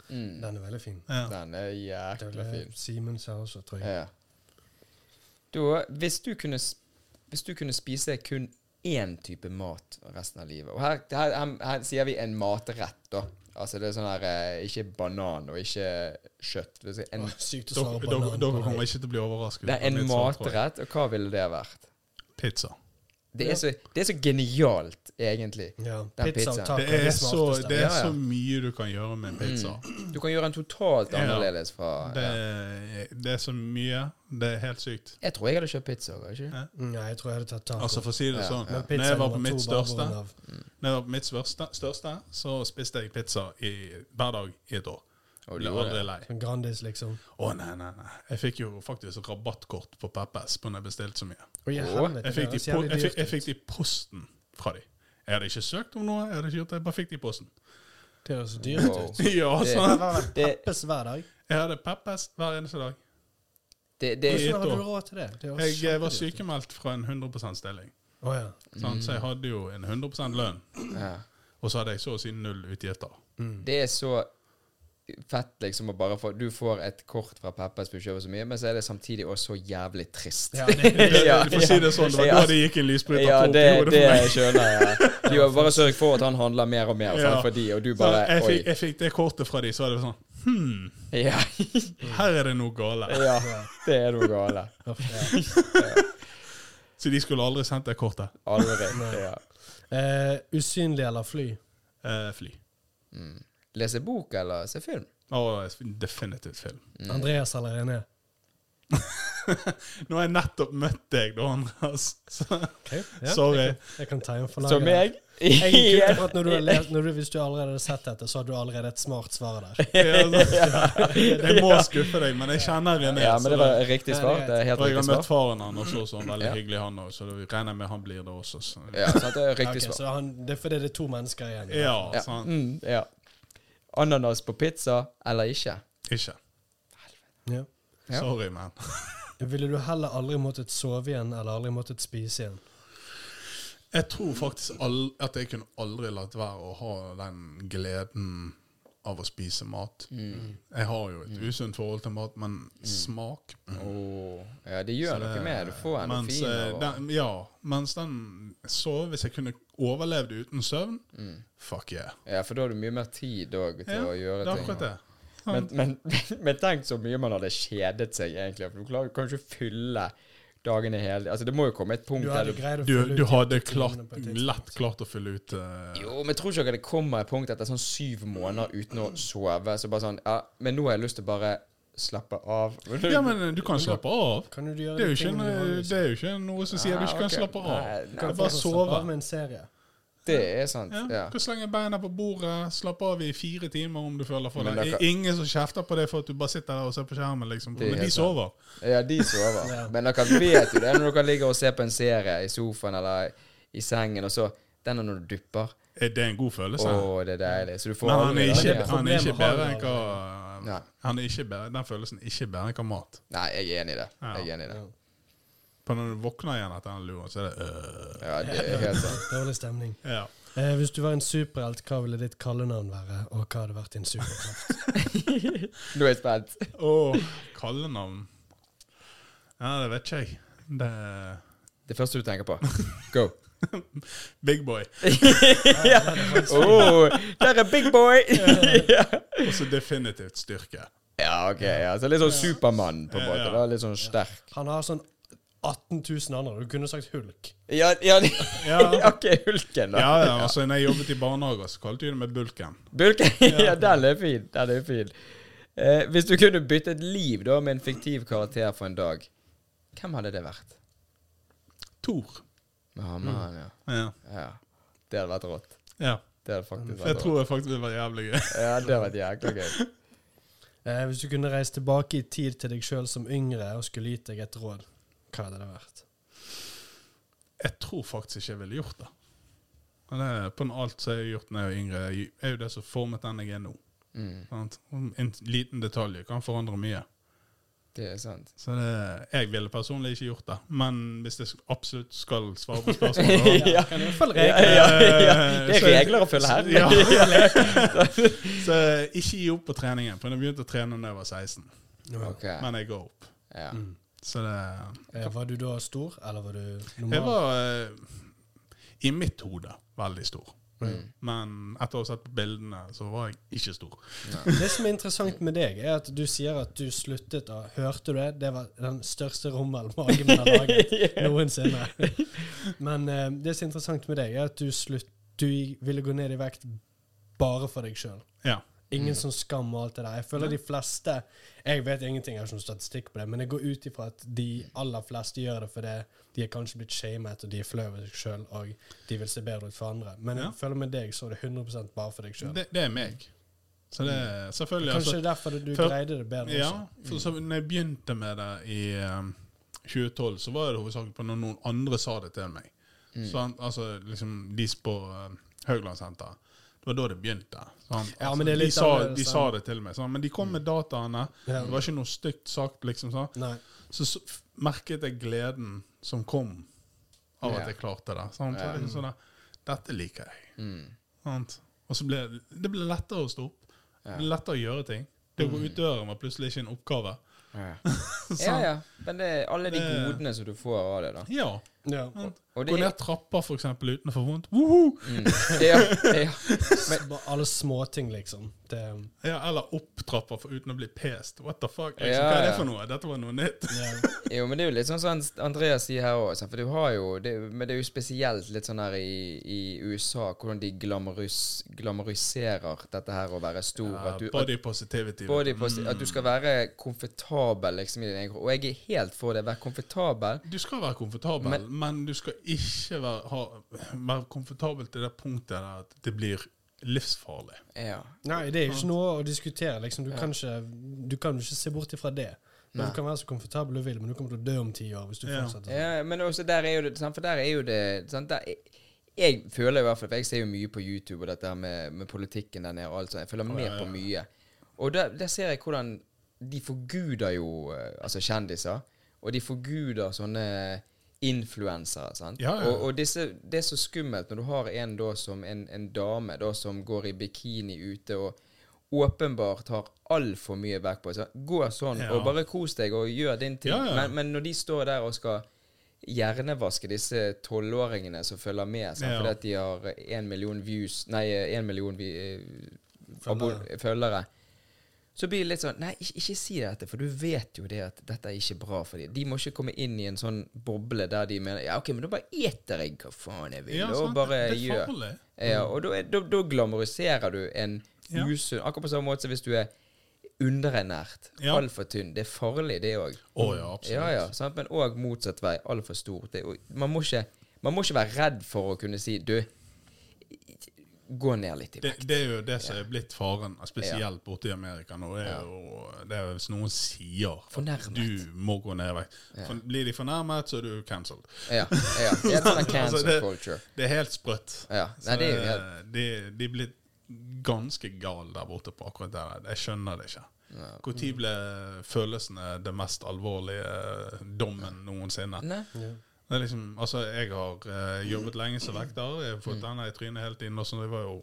Mm.
Den er veldig fin.
Ja.
Den er
Det
jækla
er
fin.
Simens her også, tror jeg.
Ja. Da, hvis du kunne, s- hvis du kunne spise kun én type mat resten av livet Og her, her, her, her sier vi en matrett, da. Altså det er sånn her eh, Ikke banan og ikke kjøtt. Det er en,
Åh, sykt å
Dere
svare
dere-
banan
dere
på
kommer
meg.
ikke til å bli overrasket.
det er en
over mitt svar, tror jeg.
matrett, og hva ville det vært?
Pizza.
Det er så, det er så genialt, egentlig.
Ja,
Den
pizza og
pizzaen.
taco
Det
er
er,
det
så,
smarteste.
det
Ja,
er
ja.
så mye du kan gjøre med en pizza.
Du kan gjøre en totalt
Ja.
annerledes fra
Det,
ja.
er- det er så mye. Det er helt sykt.
Jeg tror jeg hadde kjøpt pizza. hadde jeg Ikke?
Nei, Mm, jeg tror jeg hadde tatt taco.
Altså, for å si det
Ja,
sånn,
Men
når
pizza
jeg var på
nummer
mitt
to bare
største,
pga. av-
når jeg var på mitt største, største så spiste jeg pizza i, hver dag i et år.
Og du
Ble
gjorde
aldri
det.
lei.
sånn Grandis, liksom.
Å, nei, nei, nei. Jeg fikk jo faktisk rabattkort på Peppes på når jeg bestilte så mye.
Og i
Åh,
helvete,
Jeg fikk de,
det
på,
høres
jeg
jævlig
fikk, jeg
dyrt ut.
fikk de i posten fra de. Jeg hadde ikke søkt om noe, jeg hadde ikke gjort det, jeg bare fikk de i posten.
Det høres dyrt
Wow.
ut.
Ja,
Det-
sånn.
Det,
Peppes hver dag.
Jeg hadde Peppes hver eneste dag.
det, det,
I et
Hvordan hadde
år.
du råd til det? det høres
Jeg eh, var
kjempedyrt ut.
sykemeldt fra en 100 %-stilling.
Å ja.
Sant?
Mm.
Så jeg hadde jo en 100 lønn,
ja.
og så hadde jeg så å si null utgifter.
det er Mm. så fett liksom å bare få Du får et kort fra Peppers for å kjøpe så mye, men så er det samtidig også så jævlig trist.
Ja, det, det,
Det-
Ja,
Du får si det sånn. Det var
ja.
da det gikk en lysbryter
Ja,
på opp i
det,
hodet
det
for meg.
skjønner jeg. Du har bare sørg for at han handler mer og mer sant,
Ja.
for de, og du
Så
bare
jeg,
Oi.
fikk, jeg fikk det kortet fra de, så var det sånn Hm,
Ja,
her er det noe gale.
ja, det er noe gale.
ja.
Så de skulle aldri sendt det kortet.
Aldri. Ja.
Eh, usynlig eller fly?
Eh, fly.
Mm. Lese bok eller se film?
Og definitivt film.
Andreas eller René?
Nå har jeg nettopp møtt deg, da, Andreas. Så,
Ok, ja,
Sorry.
Jeg kan, jeg kan ta inn for laget.
Som meg?
Jeg gikk ut ifra at når du har lest, når du, hvis du allerede har sett dette, så har du allerede et smart svar der.
ja, så jeg må skuffe deg, men jeg kjenner René.
Ja, men det var riktig
Ja, det er
svar. Det er
så-
helt
og jeg
riktig
har møtt
svar.
faren hans også, sånn, veldig
Ja.
hyggelig han òg, så det regner jeg med han blir det også. Så.
Ja, sant, det er
Ok,
riktig svar.
så han, det er fordi det er to mennesker igjen.
Ja,
Ja.
sant.
Mm, ja. Ananas på pizza eller ikke?
Ikke.
Ja.
Ja.
Sorry, man.
Ville du heller aldri måttet sove igjen, eller aldri måttet spise igjen?
Jeg tror faktisk al- at jeg kunne aldri latt være å ha den gleden av å spise mat.
Mm.
Jeg har jo et usunt forhold til mat, men smak
Åh, ja, det
Så
gjør
det-
noe med Du får
mens,
endorfiner.
eh,
og-
den, ja, mens den sove, hvis jeg kunne overlevd uten søvn,
Mm.
fuck yeah.
Ja, for da har du mye mer tid òg til
Ja,
å
Det
gjøre
er
ting.
akkurat det.
Men, men, men tenk så mye man hadde kjedet seg, egentlig. For du klarer du kan ikke fylle dagene hele Altså, det må jo komme et punkt
Du
der
hadde
du
greid å
Du,
fylle ut
du
de
hadde
åtte timene
klart,
på et tidspunkt.
lett klart å fylle ut eh,
Jo, men tror ikke dere det kommer et punkt etter sånn syv måneder uten å sove? Så bare sånn Ja, men nå har jeg lyst til å bare slappe av.
Ja, men eh, du kan slappe av.
Kan du gjøre liksom.
Det er jo
de
ikke,
tingene du har
en- eh,
lyst
det er jo ikke noe som sier du ikke
Ah,
kan
ok.
slappe av.
Nei,
Du
nei,
Det
kan
er bare
få
sove.
slappe av med en serie.
det er sant.
Ja,
Ja.
Du kan slenge beina på bordet, slappe av i fire timer om du føler for
Men
det.
dere-
Det er Ingen som kjefter på det for at du bare sitter der og ser på skjermen, liksom.
Det
Men
er
de
helt
sover.
ja, de sover.
Ja.
Men dere vet jo det når dere ligger og ser på en serie i sofaen eller i sengen, og så Den er når du dupper.
Er Eh, det en god
Å,
følelse?
det er deilig. Så du får
Men han
aldri
er
den
ikke,
der-
han er ikke
Problemet har
bedre
vi
enn hva
Nei.
han er ikke bedre, Den følelsen er ikke bedre enn hva mat.
Nei, jeg er enig i det.
Ja.
Jeg er enig i det.
For når du våkner igjen etter den luren, så er det øh.
Ja, det er helt sant.
Dårlig stemning.
ja.
Eh, hvis du var en superhelt, hva ville ditt kallenavn være? Og hva hadde vært din superkraft?
Nå er jeg spent.
Åh, kallenavn Ja, det vet ikke jeg. Det er
Det første du tenker på. Go.
Big boy.
Oh, der er big boy!
Og så Altså, definitivt styrke.
ja, ok. Ja. Så litt sånn Supermann på en måte.
Ja, ja.
da. Litt sånn sterk.
Han har sånn 18 000 andre. Du kunne sagt Hulk.
Ja, ja,
Ja, ja,
ok, Hulken, da.
ja altså når jeg jobbet i barnehager, så kalte de det med bulken.
Bulken, ja, den er fin. Den er fin. Eh, hvis du kunne bytte et liv da med en fiktiv karakter for en dag, hvem hadde det vært?
Tor.
Mammaen, ja.
Ja.
ja. Det hadde vært rått.
ja.
Det hadde faktisk
Jeg
vært rått.
tror jeg faktisk det var jævlig gøy.
Ja, det hadde vært jækla gøy.
Eh, hvis du kunne reist tilbake i tid til deg sjøl som yngre og skulle gitt deg et råd, hva hadde det vært?
Jeg tror faktisk ikke jeg ville gjort det. Men det er på en alt som jeg har gjort når jeg var yngre, er jo det som formet den jeg er nå.
Mm,
Sant? Om En liten detalj kan forandre mye.
det er sant.
Så det, jeg ville personlig ikke gjort det. Men hvis jeg sk- absolutt skal svare på spørsmålet
Ja.
Kan i hvert fall
Ja,
regle.
ja, ja. Det er
Så-
regler å følge her.
Ja.
Ja.
Så ikke gi opp på treningen, for jeg begynte å trene da jeg var 16.
Ok.
Men jeg ga opp.
Ja.
Mm.
Så det
Eh, var du da stor, eller var du
Jeg
normal?
var eh, i mitt hode veldig stor. Men etter å ha sett på bildene, så var jeg ikke stor.
Det som er interessant med deg, er at du sier at du sluttet å Hørte du det? Det var den største rummelen magen har laget noensinne. Men eh, det som er interessant med deg, er at du, slutt, du ville gå ned i vekt bare for deg sjøl.
Ja.
Ingen
Mm.
sånn skam og alt det der. Jeg føler de fleste Jeg vet ingenting, jeg har ikke noen statistikk på det, men jeg går ut ifra at de aller fleste gjør det fordi de er kanskje blitt shamet, og de er flau over seg sjøl, og de vil se bedre ut for andre. Men
Ja.
jeg føler med deg så er det 100 bare for deg sjøl.
Det, det er meg. Så det er selvfølgelig
Mm. Kanskje
altså,
derfor du
før-
greide det bedre
Ja,
også.
for så, når jeg begynte med det i um, 2012, så var det hovedsakelig på når noen andre sa det til meg.
Mm.
Sant? altså liksom de på um, Hauglandsenteret. Det var da det begynte. sant?
Ja,
Altså,
men det er
de,
litt
sa,
annerledes,
de
sant?
sa
Mm.
det til meg, sant? men de kom med dataene.
Ja.
Det var ikke noe stygt sagt. liksom sant?
Nei.
så, s- f- merket jeg gleden som kom av
Ja.
at jeg klarte det. Sant? Så
Ja.
det er sånn der, Dette liker jeg.
Mm.
Sant? Og så ble det ble lettere å stå opp. Det er lettere å gjøre ting. Det å gå ut døren var plutselig ikke en oppgave.
Ja. ja,
Sånn.
Mm. ja. Men det er alle de
Det-
godene som du får av det, da.
Ja.
Ja.
sant?
Og det
Gå
er,
ned trapper, for eksempel, uten å få vondt. Woho!
mm, ja, ja.
Så bare alle småting, liksom. Det,
Ja, eller opp trapper for, uten å bli pest. What the fuck? Liksom,
Ja,
Hva er det
ja.
for noe? Dette var noe nytt.
ja.
Jo, men det er jo litt sånn som Andreas sier her òg, for du har jo det, Men det er jo spesielt litt sånn her i, i USA, hvordan de glamorus, glamoriserer dette her å være stor.
Ja,
at, du, at,
body positivity.
body posi- at du skal være komfortabel, liksom. i din egen kropp. Og jeg er helt for det. Vær komfortabel.
Du skal være komfortabel, men, du skal ikke være, ha, være komfortabel til det punktet der at det blir livsfarlig.
Ja.
Nei, det er jo ikke noe å diskutere. Liksom. Du, kan ikke, du kan jo ikke se bort ifra det.
Nei.
Men Du kan være så komfortabel du vil, men du kommer til å dø om ti år hvis du
Ja.
fortsetter.
Ja, men også der er jo det sant? For der er jo det sant? Der, Jeg føler i hvert fall For jeg ser jo mye på YouTube og dette her med, med politikken der nede og alt sånt. Jeg følger med
ja,
på
ja.
mye. Og der, der ser jeg hvordan de forguder jo eh, Altså kjendiser. Og de forguder sånne influensere. sant?
Ja, ja.
Og, og disse, det er så skummelt når du har en da som en, en dame da som går i bikini ute og åpenbart har altfor mye vekt på seg. Gå sånn,
Ja.
og bare kos deg og gjør din ting.
Ja, ja.
Men, men når de står der og skal hjernevaske disse tolvåringene som følger med, sant?
Ja.
fordi at de har én million views Nei, én million vi, eh, abo-
Følgere.
følgere. Så blir det litt sånn Nei, ikke, ikke si dette, for du vet jo det at dette er ikke bra for dem. De må ikke komme inn i en sånn boble der de mener Ja, OK, men da bare eter jeg hva faen jeg vil,
Ja,
og
sant?
bare
det er
gjør
farlig.
ja, Eh, og da, er- da, da glamoriserer du en
Mm. Ja.
usunn Akkurat på samme måte som hvis du er underernært,
Ja.
altfor tynn. Det er farlig, det òg.
Å ja, absolutt.
Ja, ja, sant? Men òg motsatt vei. Altfor stor. Det, er jo- man, må ikke, man må ikke være redd for å kunne si Du, gå ned litt i
Det,
vekt.
det er jo det som er blitt faren, spesielt borte i Amerika nå. Det er jo det er hvis noen sier at
Fornærmet.
du må gå ned i vekt. For- Blir de fornærmet, så er du cancelled.
Ja, ja. Det er sånn
Altså,
cancel
det-
culture.
Det er helt sprøtt.
Ja. Nei,
Så,
det er jo
eh,
helt
de, de er blitt ganske gale der borte på akkurat det der. Jeg skjønner det ikke. Når ble følelsene det mest alvorlige eh, dommen noensinne?
Nei.
Det er liksom, altså, jeg har eh, jobbet lenge som vekter. Jeg har fått
Mm.
denne i trynet hele tiden. og sånn, jeg var jo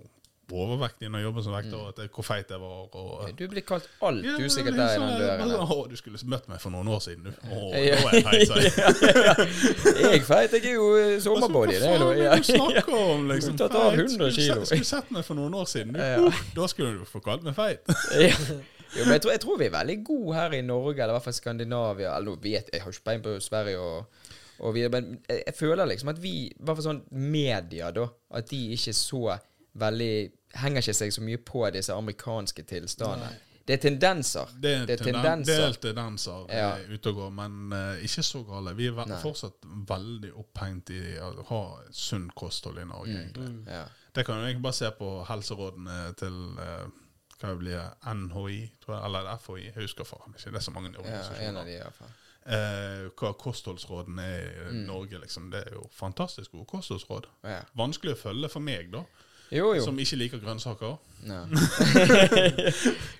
overvektig når jeg jobbet som vekter, og at jeg, hvor feit jeg var. og... eh,
Mm. Du blir kalt alt
ja, men
usikkert
det er
der i den
sånn,
døren.
bare,
der.
Å, du skulle møtt meg for noen år siden, du. Å,
Ja.
nå er jeg feit, sa jeg.
Jeg er feit. Jeg er jo eh,
Altså,
sommerbody. Det
Hva
er
faen
noe,
er
ja.
det du snakker om? Liksom,
Du har tatt av
Feit.
100
Skulle
kilo.
sett- Skulle sett meg for noen år siden. Du,
Ja.
uh, da skulle du få kalt meg feit.
ja. Jo, men jeg tror, jeg tror vi er veldig gode her i Norge, eller i hvert fall Skandinavia. Eller nå vet jeg har ikke peiling på Sverige og, og videre, men jeg, jeg føler liksom at vi, i hvert fall sånn media, da, at de ikke så veldig Henger ikke seg så mye på disse amerikanske tilstandene. Det er tendenser.
Det er, tenden-
tendenser.
det er tendenser
Ja.
eh, ute og går, men eh, ikke så gale. Vi er ve fortsatt veldig opphengt i å ha sunn kosthold i Norge,
Mm.
egentlig.
Ja.
Det kan jo egentlig bare se på helserådene til eh, hva blir det, NHI, tror jeg, eller FHI, jeg husker faen ikke. Det er så mange
ja,
organisasjoner.
en av de, i hvert fall.
eh, hva kostholdsrådene er i
Mm.
Norge. Liksom. Det er jo fantastisk gode kostholdsråd.
Ja.
Vanskelig å følge for meg, da,
Jo, jo.
som ikke liker grønnsaker.
Ja.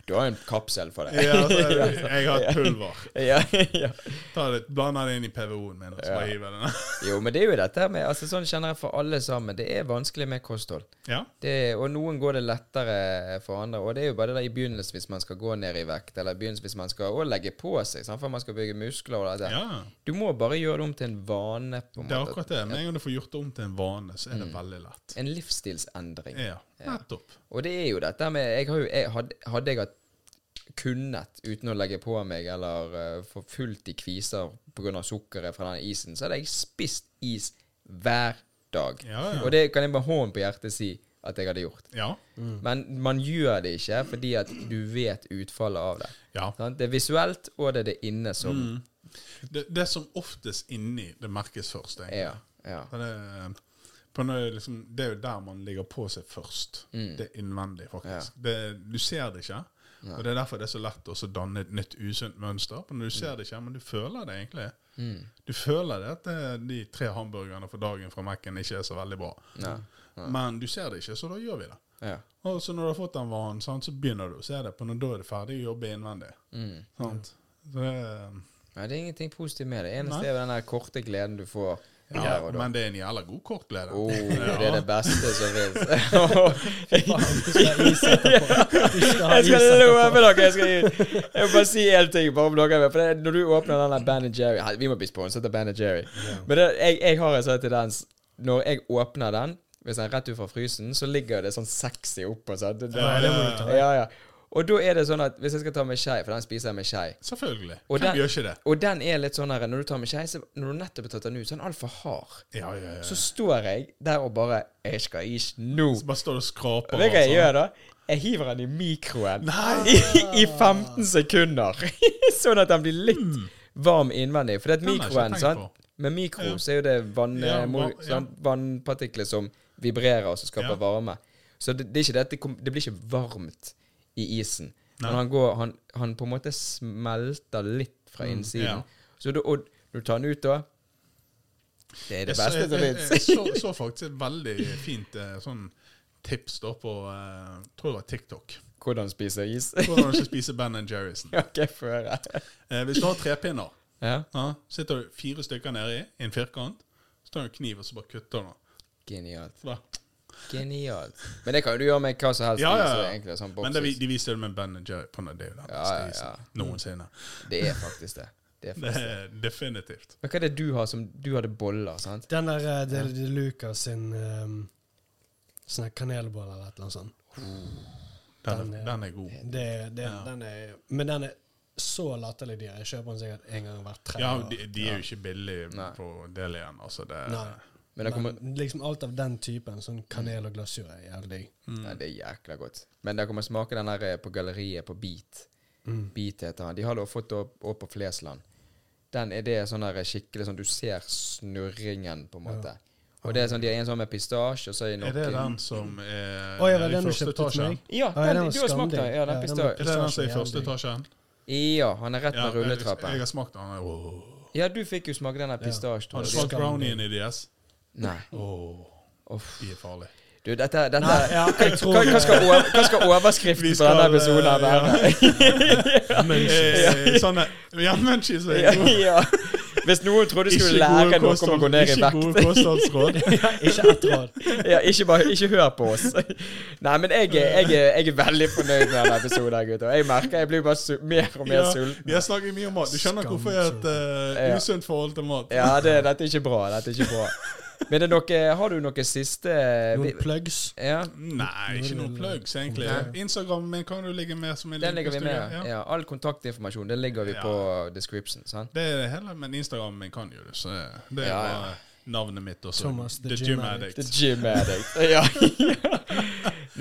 du har en kapsel for det.
Ja, altså, jeg har et pulver.
Ja, ja.
Ta det, blanda det inn i PVO-en min. og Så bare hiver jeg den.
Jo, men det er jo dette her med altså Sånn kjenner jeg for alle sammen. Det er vanskelig med kosthold.
Ja.
Det, og noen går det lettere for andre. Og det er jo bare det der i begynnelsen hvis man skal gå ned i vekt, eller i begynnelsen hvis man skal å, legge på seg sant? for man skal bygge muskler og alt det.
ja,
Du må bare gjøre det om til en vane. på en
det er
måte. Mm.
akkurat det. Med en gang du får gjort det om til en vane, så er det veldig lett.
En livsstilsendring.
Ja, nettopp.
Og det er jo dette med jeg har jo, jeg hadde, hadde jeg hatt kunnet uten å legge på meg eller eh, få fullt i kviser pga. sukkeret fra den isen, så hadde jeg spist is hver dag.
Ja, ja.
Og det kan jeg med hånden på hjertet si at jeg hadde gjort.
Ja.
Men man gjør det ikke fordi at du vet utfallet av det.
ja.
Sant? Det er visuelt, og det er det inne som
Mm. Det, det som oftest inni, det merkes først. egentlig.
Ja. ja.
Så Det, eh, på noe, liksom, det er jo der man ligger på seg først.
Mm.
Det er innvendig, faktisk. Det, du ser det ikke. Og Det er derfor det er så lett å så danne et nytt usunt mønster. Men
Mm.
Du ser det ikke, men du føler det egentlig. Du føler det at det, de tre hamburgerne for dagen fra Mac-en ikke er så veldig bra.
Ja.
Men du ser det ikke, så da gjør vi det.
ja.
Og så når du har fått den vanen, sant, så begynner du å se det. på når Da er det ferdig å jobbe innvendig.
Mm.
Sant? Så det,
Nei, det er ingenting positivt med det. Eneste
Nei.
er den der korte gleden du får her
Ja,
og da.
men det er en jævla god kortbleder.
Oh,
Ja.
det er det beste som fins.
Faen, du skal ha is etterpå. Du skal ha
Jeg
is
skal
etterpå.
love dere! Jeg skal jeg vil bare si én ting. Bare om dere er med, for det, er- Når du åpner den der Ben Jerry Hel- Vi må bli sponset av Ben Jerry. Men det, jeg, jeg har en sånn tendens Når jeg åpner den, hvis den er rett ut fra frysen, så ligger det sånn sexy oppå. sant? Det-
Ja, det må du
ta.
Ja, ja. Og da er det sånn at hvis jeg skal ta med skei, for den spiser jeg med skei
Selvfølgelig.
Og
Hvem
den-
gjør ikke det?
Og den er litt sånn her Når du tar med skei, så når du nettopp har tatt den ut, så er den altfor hard.
Ja, ja, ja.
Så står jeg der og bare Jeg skal ikke nå.
Så bare står du og skraper.
Vet du hva
og
jeg
sånn.
gjør da? Jeg hiver den i mikroen
Nei!
i, i 15 sekunder. sånn at den blir litt varm innvendig. For det er
Hmm. Den har jeg ikke
mikroen,
tenkt
sant?
på.
Med mikro så er jo det vann,
Ja,
mo-
va- ja.
sånn vannpartikler som vibrerer og som skaper
Ja.
varme. Så det, det er ikke det at det, kom, det blir ikke varmt i isen.
Nei.
Men han, går, han, han på en måte smelter litt fra
Hmm, ja.
innsiden. Så du, og du tar den ut da. Det er det beste som
jeg, jeg, jeg
fins.
så, så faktisk et veldig fint eh, sånn tips da på eh, tror det var TikTok.
Hvordan spise is?
Hvordan du skal spise Ben Jerryson.
Ok, få høre.
Eh, hvis du har trepinner,
Ja.
ja, sitter du fire stykker nedi i en firkant, så tar du en kniv og så bare kutter du den.
Genialt.
Så bare-
Genialt. Men det kan jo du gjøre med hva som helst.
Ja, ja,
Så
ja.
egentlig, sånn
Men det, vi-
boksis.
de viste det med Ben Jerry på den, det er jo den
Ja,
beste
ja, Mm.
isen
ja.
noensinne.
det er faktisk det. det er
Det
faktisk. det.
er definitivt.
Men hva er det du har som Du hadde boller, sant?
Den der eh, det, det er Lucas sin um, sånn her kanelbolle eller et eller annet sånt.
Den,
Den
er-
er-
den er god.
Det, det,
Ja.
den er, men den er så latterlig dyr. Jeg kjøper den sikkert en gang hvert tredje
Ja,
år.
de, de er jo ikke billige
Nei.
på del igjen, altså. Det,
Nei.
Men det kommer
Men liksom alt av den typen, sånn kanel og glasur, er jævlig digg.
Mm.
Nei, det er jækla godt. Men det kommer smake den der eh, på galleriet på Beat.
Mm.
Beat heter han. De har da fått opp, opp på Flesland. Den er det sånn der skikkelig sånn Du ser snurringen, på en måte. Og det er sånn, De har en sånn med pistasje, og så er det
Er det
noen
den som er
Å, ja,
nede
var
i
den du
Eh, første
kjøpte til
etasjen?
meg?
Ja,
Ja,
den,
den var
du har smakt den. Ja,
skamdigg.
den
Ja, den var
pistasje.
Er det den som er i
Pistasje,
første
jævlig.
etasjen?
Ja, han er rett
Ja,
med
Jeg, jeg
rulletrappen.
har smakt den. her. Åh.
Ja, du fikk jo smake den der pistasjen.
Har du
tror jeg.
smakt brownien i DS?
Nei.
Åh,
Uff.
de er farlige.
Du, dette, dette
ja, jeg tror-
hva, hva, skal over, hva skal overskriften
Vi
på denne
skal,
episoden
eh,
være?
Eh, Sånne Ja, munchies er
Ja.
gode.
Hvis noen trodde du
Ikke
skulle lære
gode
noe om å gå
kosthold-
ned i
ikke
vekt.
gode kostholdsråd.
Ikke ett råd.
Ja, ikke, bare, ikke hør på oss. Nei, men jeg, er- jeg, er- jeg er veldig fornøyd med denne episoden. her, gutter. Jeg merker jeg blir bare su mer og mer
Ja,
sulten.
Vi har snakket mye om mat. Du skjønner hvorfor jeg har et eh,
Ja.
usunt forhold til mat.
Ja, det, dette er ikke bra. Dette er ikke bra. Men er det noe, har du noe siste vi-
Noen plugs.
Ja,
Nei, ikke noen plugs, egentlig. Instagrammen min kan du ligge med som en
Den ligger vi
link på
med.
studio,
Ja, all kontaktinformasjon den ligger vi
Ja.
på description. sant?
Det er det hele, men Instagrammen min kan jo det. Så det er
Ja,
bare
ja.
navnet mitt også.
Thomas, the gym addict.
The gym addict. Ja.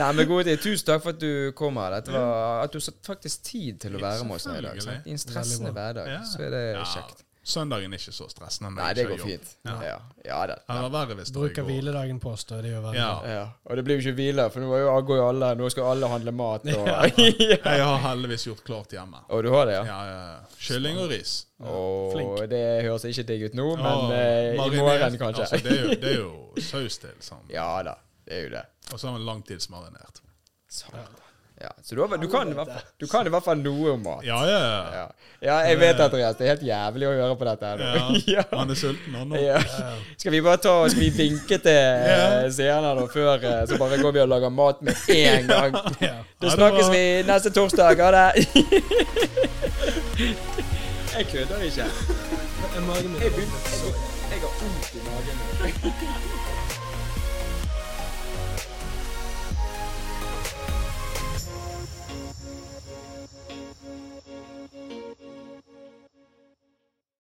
Nei, men gode tid. Tusen takk for at du kom her. Dette var at du satt faktisk tid til å være med oss her i dag. sant? I en stressende
Veldig
hverdag,
Ja.
så er det
Ja,
kjekt.
Søndagen er ikke så stressende. når
Nei,
jeg
det
ikke
går
har jobb.
fint. Ja, ja da.
Det var verre hvis det
Bruker
går.
hviledagen på oss, da. Det gjør veldig
Ja.
bra.
Ja. Og det blir jo ikke hvile, for nå er jo- går jo alle Nå skal alle handle mat. Og, ja.
Jeg har heldigvis gjort klart hjemme.
og du har det, ja?
Ja, ja. Kylling og ris.
Og
Flink.
det høres ikke digg ut nå, men
Og
eh, i
marinert.
morgen kanskje.
Altså, det, er jo, det er jo saus til, sånn.
Ja da, det er jo det.
Og så har vi langtidsmarinert.
Satan. Ja, så du, har, du, kan, i hvert fall- du kan i hvert fall noe om mat.
Ja, ja, ja.
Ja, ja jeg vet Andreas, det er helt jævlig å høre på dette her nå.
ja. Han er sånn sulten, han nå.
Ja. Skal vi bare ta og skal vi vinke til yeah. seerne da før, eh, så bare går vi og lager mat med en gang.
Ja.
Da
Ha det
snakkes
bra.
vi neste torsdag. Ha det. Jeg kødder ikke.
Er magen min
Jeg begynner- jeg- jeg har vondt i magen.